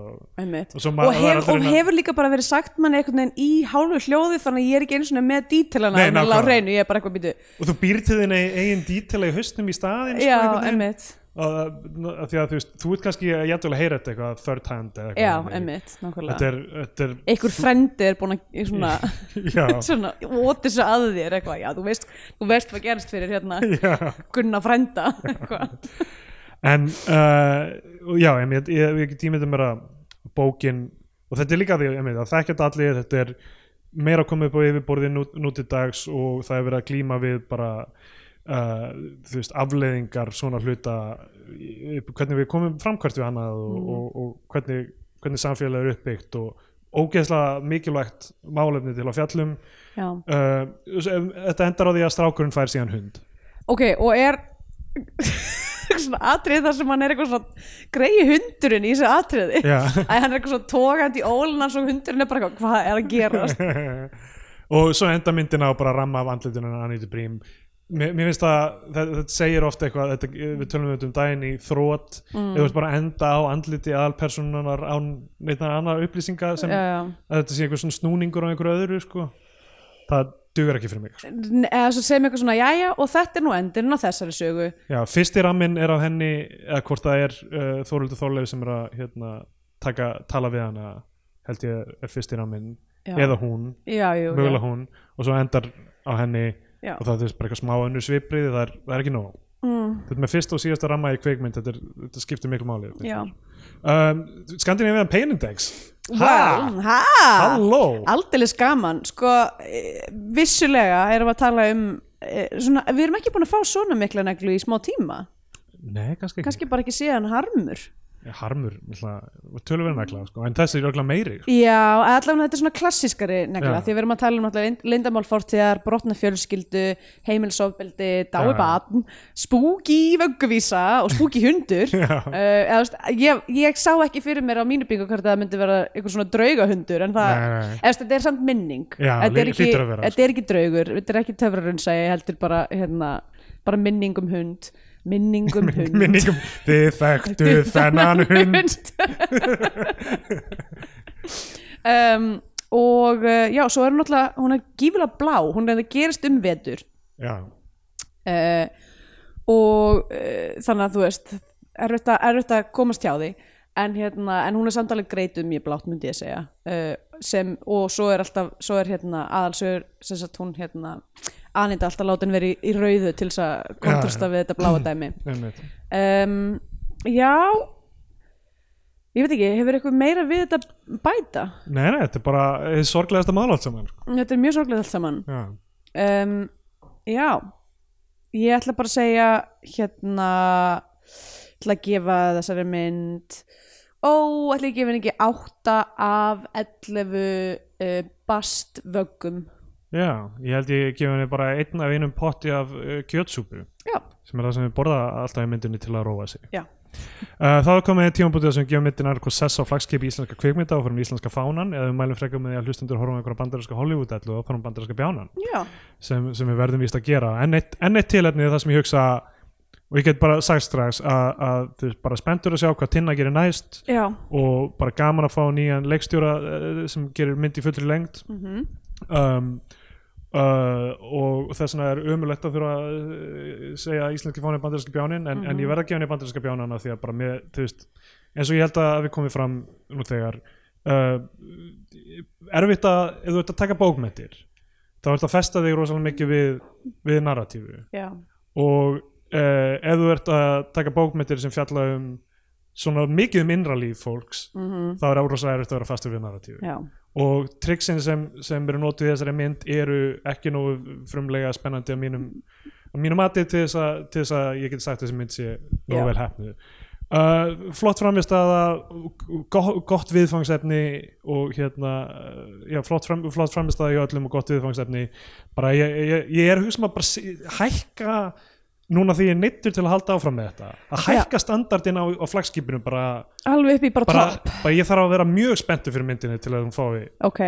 einmitt. Og hérna. svo og, maður- það er hef, aldrei og neina- hefur líka bara verið sagt manni einhvern veginn í hálfu hljóði þannig að ég er ekki eins og með dítilana Nei, alveg á nákvæmlega. hreinu, ég er bara eitthvað býtu Og þú býr til þinn eigin dítela í haustnum í staðinn sko, já, einhvern veginn. einmitt að, að því að þú veist, þú ert kannski að jættulega að heyra þetta eitthvað third hand eða Já, þannig. einmitt, þetta nákvæmlega er, þetta er einhver frendi er búin að í svona, já, svona óti svo að þér eitthvað, já, þú veist, þú veist hvað gerst fyrir hérna já, Gunna frenda eitthvað, en uh, og já, em, ég, ég, ég get ímyndum mér að bókin, og þetta er líka því em, að þekkja þetta allir, þetta er meira að koma upp á yfirborðið nú, nú til dags og það er verið að glíma við bara uh, þú veist, afleiðingar svona hluta í- í- hvernig við komum framkvært við hannað og, og, og hvernig, hvernig samfélag er uppbyggt og ógeðslega mikilvægt málefni til að fjallum já uh, þetta endar á því að strákurinn fær síðan hund ok, og er svona atrið þar sem hann er eitthvað svona greiði hundurinn í þessu atriði Já. að hann er eitthvað svona tógandi í ólinn hans og hundurinn er bara eitthvað, hvað er að gerast og svo enda myndina á bara ramma af andlitunum að Anita Brím mér, mér finnst að þetta, þetta segir ofta eitthvað þetta, við tölum þetta um daginn í þrótt mm. eða þú veist bara að enda á andliti aðalpersonunar án neittan annar upplýsinga sem Já, já. að þetta sé eitthvað svona snúningur á einhverju öðru sko. það dugur ekki fyrir mig sko. N- eða svo segjum eitthvað svona, jæja, og þetta er nú endurinn á þessari sögu Já, fyrsti ramminn er af henni eða hvort það er uh, Þóruldur Þorleif sem er að hérna, taka, tala við hana held ég er fyrsti ramminn Já. eða hún já, jú, mögulega já. hún og svo endar á henni Já. og það er bara eitthvað smá önnur svipriði það er, það er ekki nóg mm. þetta er með fyrsta og síðasta ramma í kveikmynd þetta, er, þetta skiptir miklu máli já. um, Skandinavian Pain Index Wow, ha, Halló! aldeilis gaman sko, eh, vissulega erum við að tala um eh, svona, við erum ekki búin að fá svona mikla neglu í smá tíma Nei, kannski ekki kannski bara ekki síðan harmur Harmur, tölverðin ekki sko. en þessi er örugglega meiri já, allavega þetta er svona klassískari negla Já. því við erum að tala um allavega lindamálfortiðar brotna fjölskyldu, heimilsofbeldi dái Já. batn, spúki vögguvísa og spúki hundur Já. uh, eða, þú veist, ég, ég sá ekki fyrir mér á mínu byggu hvort það myndi vera einhver svona draugahundur en það, Nei, nei, eða, nei. þú veist, þetta er samt minning Já, þetta, er lí- ekki, hlýtur að vera, þetta er ekki draugur þetta er ekki töfrarunnsæi, heldur bara hérna, bara minning um hund minning um hund minningum, þið þekktu um þennan hund um, og uh, já, svo er hún náttúrulega hún er gífilega blá, hún er að gerist um vetur Já, uh, og uh, þannig að þú veist erfitt að, erfitt að komast hjá því en, hérna, en hún er samtalið greit um ég blátt myndi ég segja uh, sem, og svo er alltaf svo er hérna aðalsögur sem sagt hún hérna Anita alltaf látin verið í, í rauðu til þess að kontrasta já. við þetta bláa dæmi einmitt. um, já ég veit ekki, hefur eitthvað meira við þetta bæta Nei, nei, þetta er bara hið sorglegasta mál allt saman sko. þetta er mjög sorglega allt saman Já, um, já ég ætla bara að segja hérna ætla að gefa þessari mynd ó, ætla ég að gefa henni ekki átta af 11 uh, bastvöggum já ég held ég gefa henni bara einn af einum potti af uh, kjötsúpu já, sem er það sem við borða alltaf í myndinni til að róa sig já, uh, þá er komið tímabútið sem gefa myndin annað hvort sess á flagskipi íslenska kvikmynda og fyrir um íslenska fánan eða við mælum frekar með því að hlustundur horfum einhverja bandarinska Hollywood-ætlu og fyrir bandarinska bjánan já sem, sem við verðum víst að gera enn eitt, enn eitt tilefni er það sem ég hugsa og ég get bara sagt strax að, að þú veist, bara spenntur að sjá hvað Tinna gerir næst já, og bara gaman að fá nýjan leikstjóra eh, sem gerir mynd í fullri lengd mm um, uh, og þess vegna er ömulegt að þurfa að eh, segja að íslenski fáni er bandarinski bjánin en, en ég verð að gefa henni bandarinska bjánana því að bara mér, þú veist, eins og ég held að við komum fram nú þegar uh, erfitt að ef þú ert að taka bókmentir þá ert að festa þig rosalega mikið við, við narratífu já og uh, ef þú ert að taka bókmyndir sem fjalla um svona mikið um innralíf fólks Mhm. þá er árosa erfitt að vera fastur við narratífi já, og triksin sem, sem eru notuð í þessari mynd eru ekki nógu frumlega spennandi að mínum, að mínum mati til þess, að, til þess að ég geti sagt þessi mynd sé nógu Já. vel hefnið uh, flott framist aða gott, gott viðfangsefni og hérna uh, já, flott, fram, flott framist aða í öllum og gott viðfangsefni bara ég, ég, ég er að hugsa maður bara sé- hækka núna því ég er neittur til að halda áfram með þetta að hækka standardin á, á flagskipinu bara, alveg upp í bara, bara, topp bara ég þarf að vera mjög spenntu fyrir myndinni til að hún fái ok,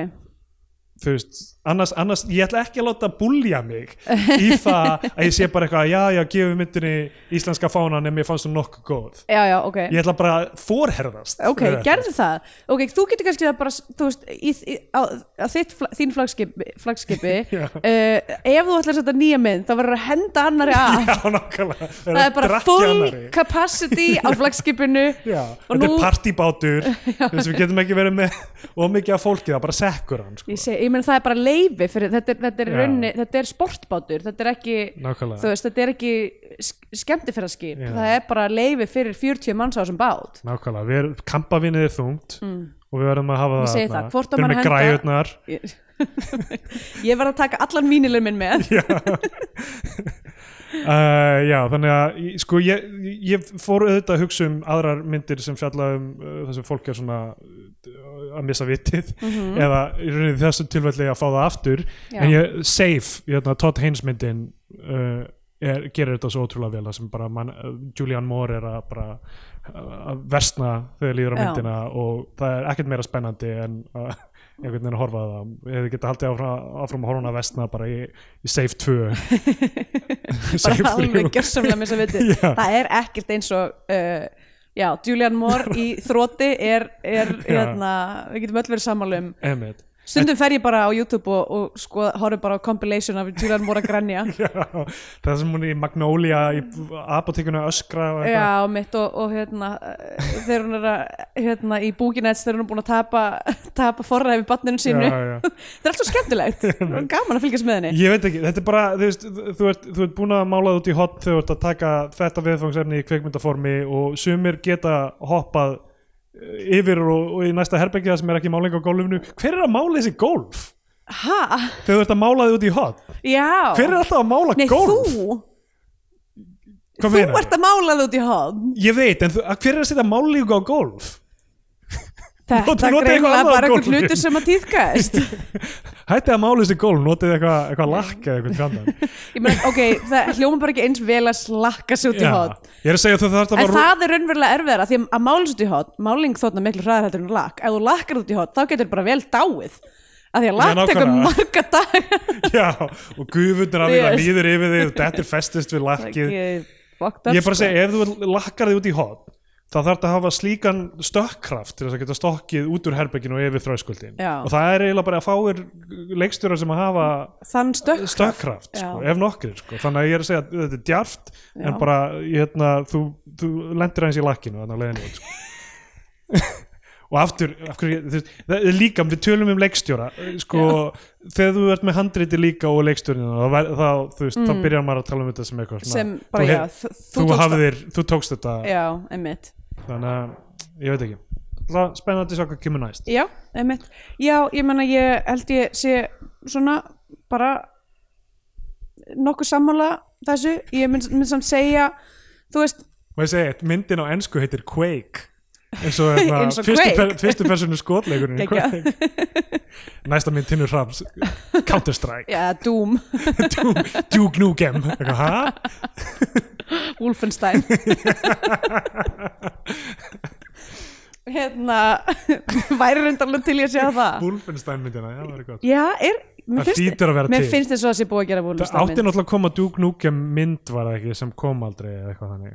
þú veist, annars, annars ég ætla ekki að láta búlja mig í það að ég sé bara eitthvað já, já, gefum myndinni íslenska fánan en mér fannst hún nokkuð góð já, já, ok ég ætla bara að forherðast ok, við þetta. gerðu það ok, þú getur kannski það bara þú veist, í, í, á, á þitt, fla- þín flagskipi, flagskipi Já. uh, ef þú ætlar að setja nýja mynd þá verður að henda annari af já, nákvæmlega það er bara full capacity á flagskipinu já, og þetta nú- er partybátur þú veist, við getum ekki verið með og mikið af fólki, það bara sekkur hann sko. ég, seg, ég meni það er bara leifi fyrir, þetta, er, þetta, er Já. raunni, þetta er sportbátur þetta er ekki nákvæmlega, þú veist, þetta er ekki skemmtifæraskip Já. það er bara leifi fyrir 40 manns á þessum bát nákvæmlega. Við erum, kampavinnið er þungt og við verðum að hafa Mm. Ég það segi þarna. það, hvort á Þeir mann með henda- græjurnar ég, ég verð að taka allan vínileg minn með já. uh, já, þannig að í- sko, ég, ég fór auðvitað að hugsa um aðrar myndir sem fjalla um uh, það sem fólk er svona uh, að missa vitið eða í rauninni í þessu tilfelli að fá það aftur Já. en ég, Safe, hérna, Todd Haynes myndin uh, er, gerir þetta svo ótrúlega vel það sem bara man, uh, Julian Moore er að bara uh, að versna þegar líður á Já. myndina og það er ekkert meira spennandi en að einhvern veginn að horfa að það eða geta haldið áfram, áfram að horfa hún að vestna bara í, í Safe 2 Safe bara 3 alveg gjörsamlega með þess að viti Já. það er ekkert eins og uh, já, Julian Moore í þróti er, er Já. hérna, við getum öll verið sammála um Emmett stundum fer ég bara á YouTube og, og sko, horfum bara á compilation af Julian Moore að grænja Já, það sem hún í Magnolia í apotekuna öskra og eitthvað. Já, mitt og, og hérna eh, þegar hún er að, hérna, í búkinets þegar hún er búin að tapa, tapa forræði við barninu sínu, Já, já. það er allt svo skemmtilegt það er gaman að fylgjast með henni Ég veit ekki, þetta er bara, þú veist, þú ert, þú ert búin að mála það út í hot þegar þú ert að taka þetta viðfangsefni í kveikmyndaformi og sumir geta hoppað eh, yfir og, og í næsta herbeggi það sem er ekki máling á gólfinu. Hver er að mála þessi gólf Ha? þegar þú ert að mála það út í hot? Já Hver er alltaf að mála Nei, gólf? þú, Hvað þú meinar ert að mála það út í hod Ég veit, en þú, að hver er að setja málingu á gólf? Þetta Nota- nota eitthvað greinlega annað á bara einhvern gólfinu. hlutur sem að týðkaðist Hætti að mála þessi gólf, notið eitthvað eitthva lakk eða eitthvað fjandann. Ég meina, ok, það hljóma bara ekki eins vel að slakka sig út í hot Ég er að segja að þú þarf að En fara það er raunverulega erfiðara því að mála sig út í hot máling þóttna miklu hraðar heldur en lakk Ef þú lakkar út í hot, þá getur bara vel dáið Af því að lakk tekur nákvæmlega. marga dag Já, og gufundur af því Yes. að líður yfir þig og þetta er festist við lakkið Ég Ég er bara að segja, ef þú lakkar þig út í hot þá þarf þetta að hafa slíkan stökkkraft til þess að geta stokkið út úr herbygginu og yfir þröskuldin Já. og það er eiginlega bara að fáir leikstjóra sem að hafa Þann stökk stökkkraft, Já. sko, ef nokkrir sko. þannig að ég er að segja að þetta er djarft Já. en bara, hérna, þú, þú lendir aðeins í lakkinu þannig að leiðinu út, sko. og aftur, af hverju, þú veist, það er líka við tölum um leikstjóra sko, þegar þú ert með handriti líka og leikstjórina þá, ver- þá, þú veist, þá byrjar maður að tala um þetta sem eitthvað svona, Mm. sem bara, þú, já, þú, hef- þú, tókst það- hafðir, þú tókst þetta já, einmitt þannig að ég veit ekki Alltaf spennandi svo hvað kemur næst Já, einmitt. Já, ég menna ég held ég sé svona bara nokkuð sammála þessu. Ég mynd, mynd samt segja, þú veist, og ég segi, eitt, myndin á ensku heitir Quake eins og, hérna, Eins og fyrstu, Quake. per, fyrstu personu skotleikurinn í Geggjað. Quake. næsta mynd Tinnur Hrams Counter Strike já, Doom, Duke, Duke Nukem Eitthvað, ha? Wolfenstein. hérna, væri reyndarlega til ég að sjá það. Wolfenstein myndina, já það er gott Já, er, mér Það hlýtur að vera mér til. finnst þess að það sé búið að gera Það átti Wolfenstein. mynd. náttúrulega að koma Duke Nukem mynd var það ekki sem kom aldrei eða eitthvað þannig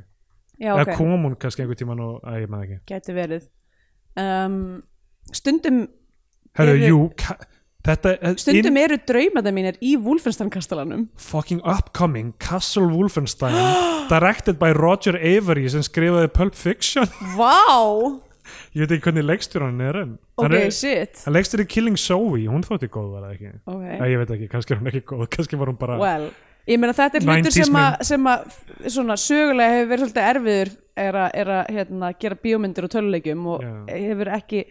Já, eða ok, kom hún kannski einhver tíma nú, að ég maður ekki gæti verið. Um, stundum Herru, Eru- jú, ka- þetta er- eh, stundum eru draumata mínir í Wolfenstein kastalanum fucking upcoming Castle Wolfenstein directed by Roger Avery sem skrifaði Pulp Fiction Vá, ég veit ekki hvernig leikstjóran er en ok, hann, er, shit hann leikstjóri Killing Zoe hún þótti góð var það ekki okay. að, ég veit ekki, kannski er hún ekki góð kannski var hún bara well, ég meina þetta er hlutur 90s sem að, sem að svona sögulega hefur verið svolítið erfiður er að, er að hérna, gera bíómyndir og töluleikjum og Já. hefur ekki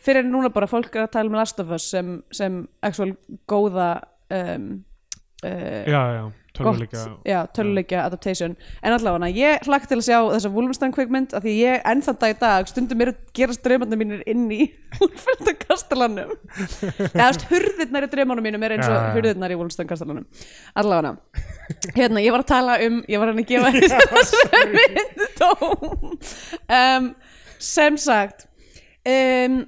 fyrir en núna bara fólk er að tala með Last of Us sem, sem actual góða um, uh, já, já, tölum líka já, töluleikja adaptation en allavega, ég hlakk til að sjá þessa Wolfenstein kvikmynd af því ég ennþann dag í dag stundum eru gerast draumarnir mínir inn í Wolfenstein kastalanum eða þú veist, hurðirnar í draumarnum mínum er eins og Já, já. hurðirnar í Wolfenstein kastalanum allavega, hérna, ég var að tala um ég var hann að gefa þessu mynd tóm um, sem sagt um,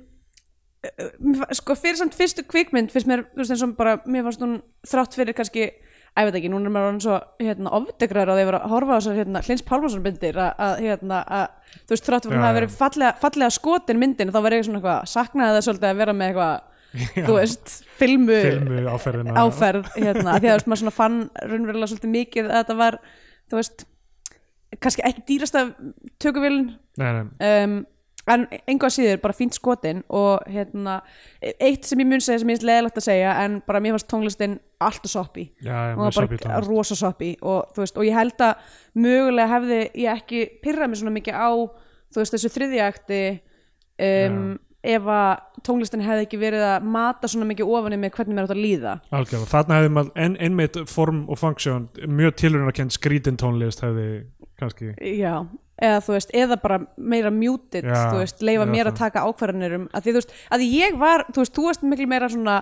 mér fa- sko fyrir samt fyrstu kvikmynd finnst mér, þú veist, eins og bara mér fannst hún þrátt fyrir kannski, að ég veit ekki núna er maður hann svo, hérna, ofdegraður að ég var að horfa á þessar, hérna, Hlins Pálmarsson myndir að, að hérna, að, þú veist, þrátt fyrir hún Já, að já. vera fallega, fallega skotin myndin þá var ég svona eitthvað, saknaði það svolítið að vera með eitthvað, þú veist, filmu, filmu áferðina áferð, hérna, af því að þú veist, maður svona fann raunverulega svolítið mikið að þetta var, þú veist, kannski ekki dýrasta tökuvélin nei, nei. um, en engu að síður bara fínt skotin og hérna eitt sem ég mun segja sem ég er leðilegt að segja en bara mér fannst tónlistin allt og soppi Já, já, hún mjög var soppi bara tónlist. rosa soppi og, þú veist, og ég held að mögulega hefði ég ekki pyrrað mig svona mikið á þú veist, þessu þriðjakti um, ef að tónlistin hefði ekki verið að mata svona mikið ofanni með hvernig mér átt að líða Algjörlega, þarna hefði maður en, einmitt form og funksjón, mjög tilrunarkend skrítin tónlist hefði kannski Já, eða þú veist, eða bara meira muted, Já, þú veist, leifa eða mér að það. taka ákvarðanir um, að því þú veist, að því ég var, þú veist, þú veist miklu meira svona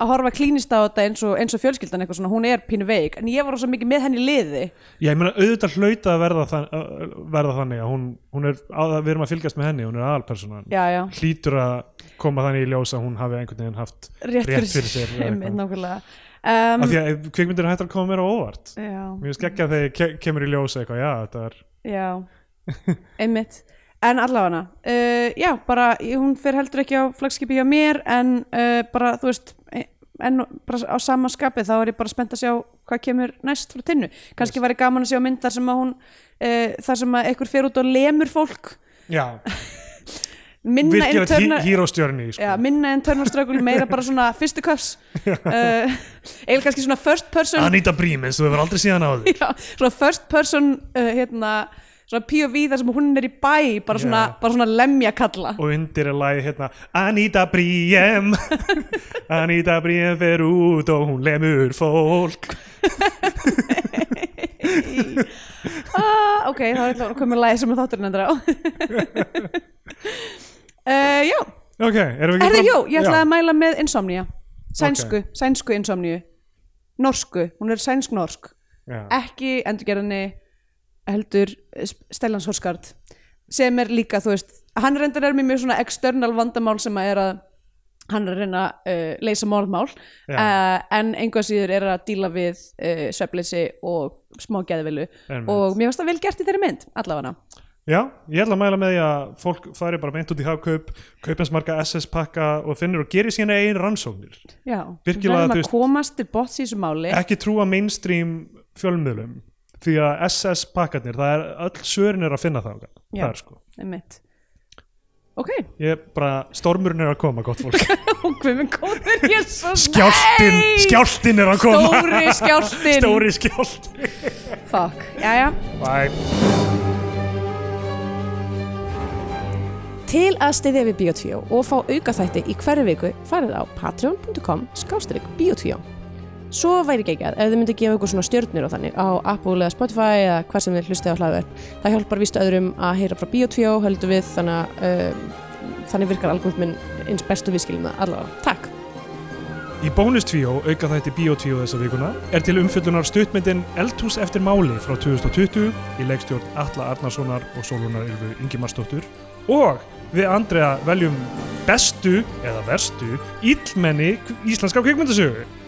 að horfa klínist á þetta eins og, eins og fjölskyldan eitthvað svona, hún er pínu veik, en ég var rosa mikið með henni í liði, Já, ég meina auðvitað hlauta að verða, þann, að verða þannig að hún, hún er, að, við erum að fylgjast með henni, hún er aðalpersonan já, já, hlýtur að koma þannig í ljós að hún hafi einhvern veginn haft rétt, fyrir sér eða einmitt, eitthvað. nákvæmlega um, af því að kvikmyndir hættar að koma mér á óvart Já, mér finnst ekki að þegar ke kemur í ljós eitthvað, já, þetta er já, einmitt, en allavega, uh, já, bara, ég- hún fer heldur ekki á flagskipi hjá mér, en uh, bara, þú veist, eh, en bara á sama skapi þá er ég bara spennt að sjá hvað kemur næst frá tinnu kannski væri gaman að sjá mynd þar sem að hún uh, þar sem að einhver fer út og lemur fólk já, minna en virkir að törna hýróstjörni sko. Já, minna en törnaströkul, meira bara svona fyrstu kaps uh, eða kannski svona first person Anita Brím eins og við verðum aldrei síðan á því já, svona first person uh, hérna, svona POV þar sem hún er í bæ bara svona, Já. bara svona lemja kalla og undir er lagið hérna Anita Briem Anita Briem fer út og hún lemur fólk ah, ok, þá er eitthvað komið lægi sem er þátturinn endur á uh, Já, ok, erum við ekki Erðu, fram- jú, ég ætlaði Já. að mæla með insomnia Sænsku, sænsku insomniu Norsku, hún er sænsk-norsk Já. Ekki endurgerðinni heldur eh, S- Stellans Horskard sem er líka, þú veist hann reyndar er mér mjög svona external vandamál sem að er að hann er að reyna að uh, leysa málmál uh, Já. en einhvað síður er að díla við uh, svefleysi og smá geðvilu Einmitt. og mér varst það vel gert í þeirri mynd allavega Já, ég ætla að mæla með því að fólk fari bara meint út í hagkaup, kaupinsmarka SS pakka og finnir og gerir sína eigin rannsóknir. Já, við Virkilega, verðum að þú veist- komast til botts í þessu máli Ekki trúa mainstream fjölmiðlum því að SS pakkarnir, það er öll svörin er að finna það. Já. Það er sko. einmitt ok, Ég bara, stormurinn er að koma, gott og fólk hvað minn góður ég er svo Skjálftin, Nei! skjálftin er að koma stóri skjálftin Stóri skjálftin fuck, jæja Bye Til að styðja við Bíotvíó og fá aukaþætti í hverju viku farið á patreon.com skástrík Bíotvíó. Svo væri geggjað ef þið myndi gefa ykkur svona stjörnir og þannig á Apple eða Spotify eða hvað sem þið hlustið á hlaðverð. Það hjálpar víst öðrum að heyra frá Bíotvíó, höldum við, þannig, að, um, þannig virkar algoritminn eins bestu viðskilum það allavega. Takk! Í bónustvíó, auka þætti Bíotvíó þessa vikuna, er til umfyllunar stuttmyndin Eldhús eftir máli frá 2020 í leikstjórn Alla Arnarssonar og Sólunar Ylfu Ingimarsdóttur og við Andrea veljum bestu eða verstu íllmenni íslenska kvikmyndasögu.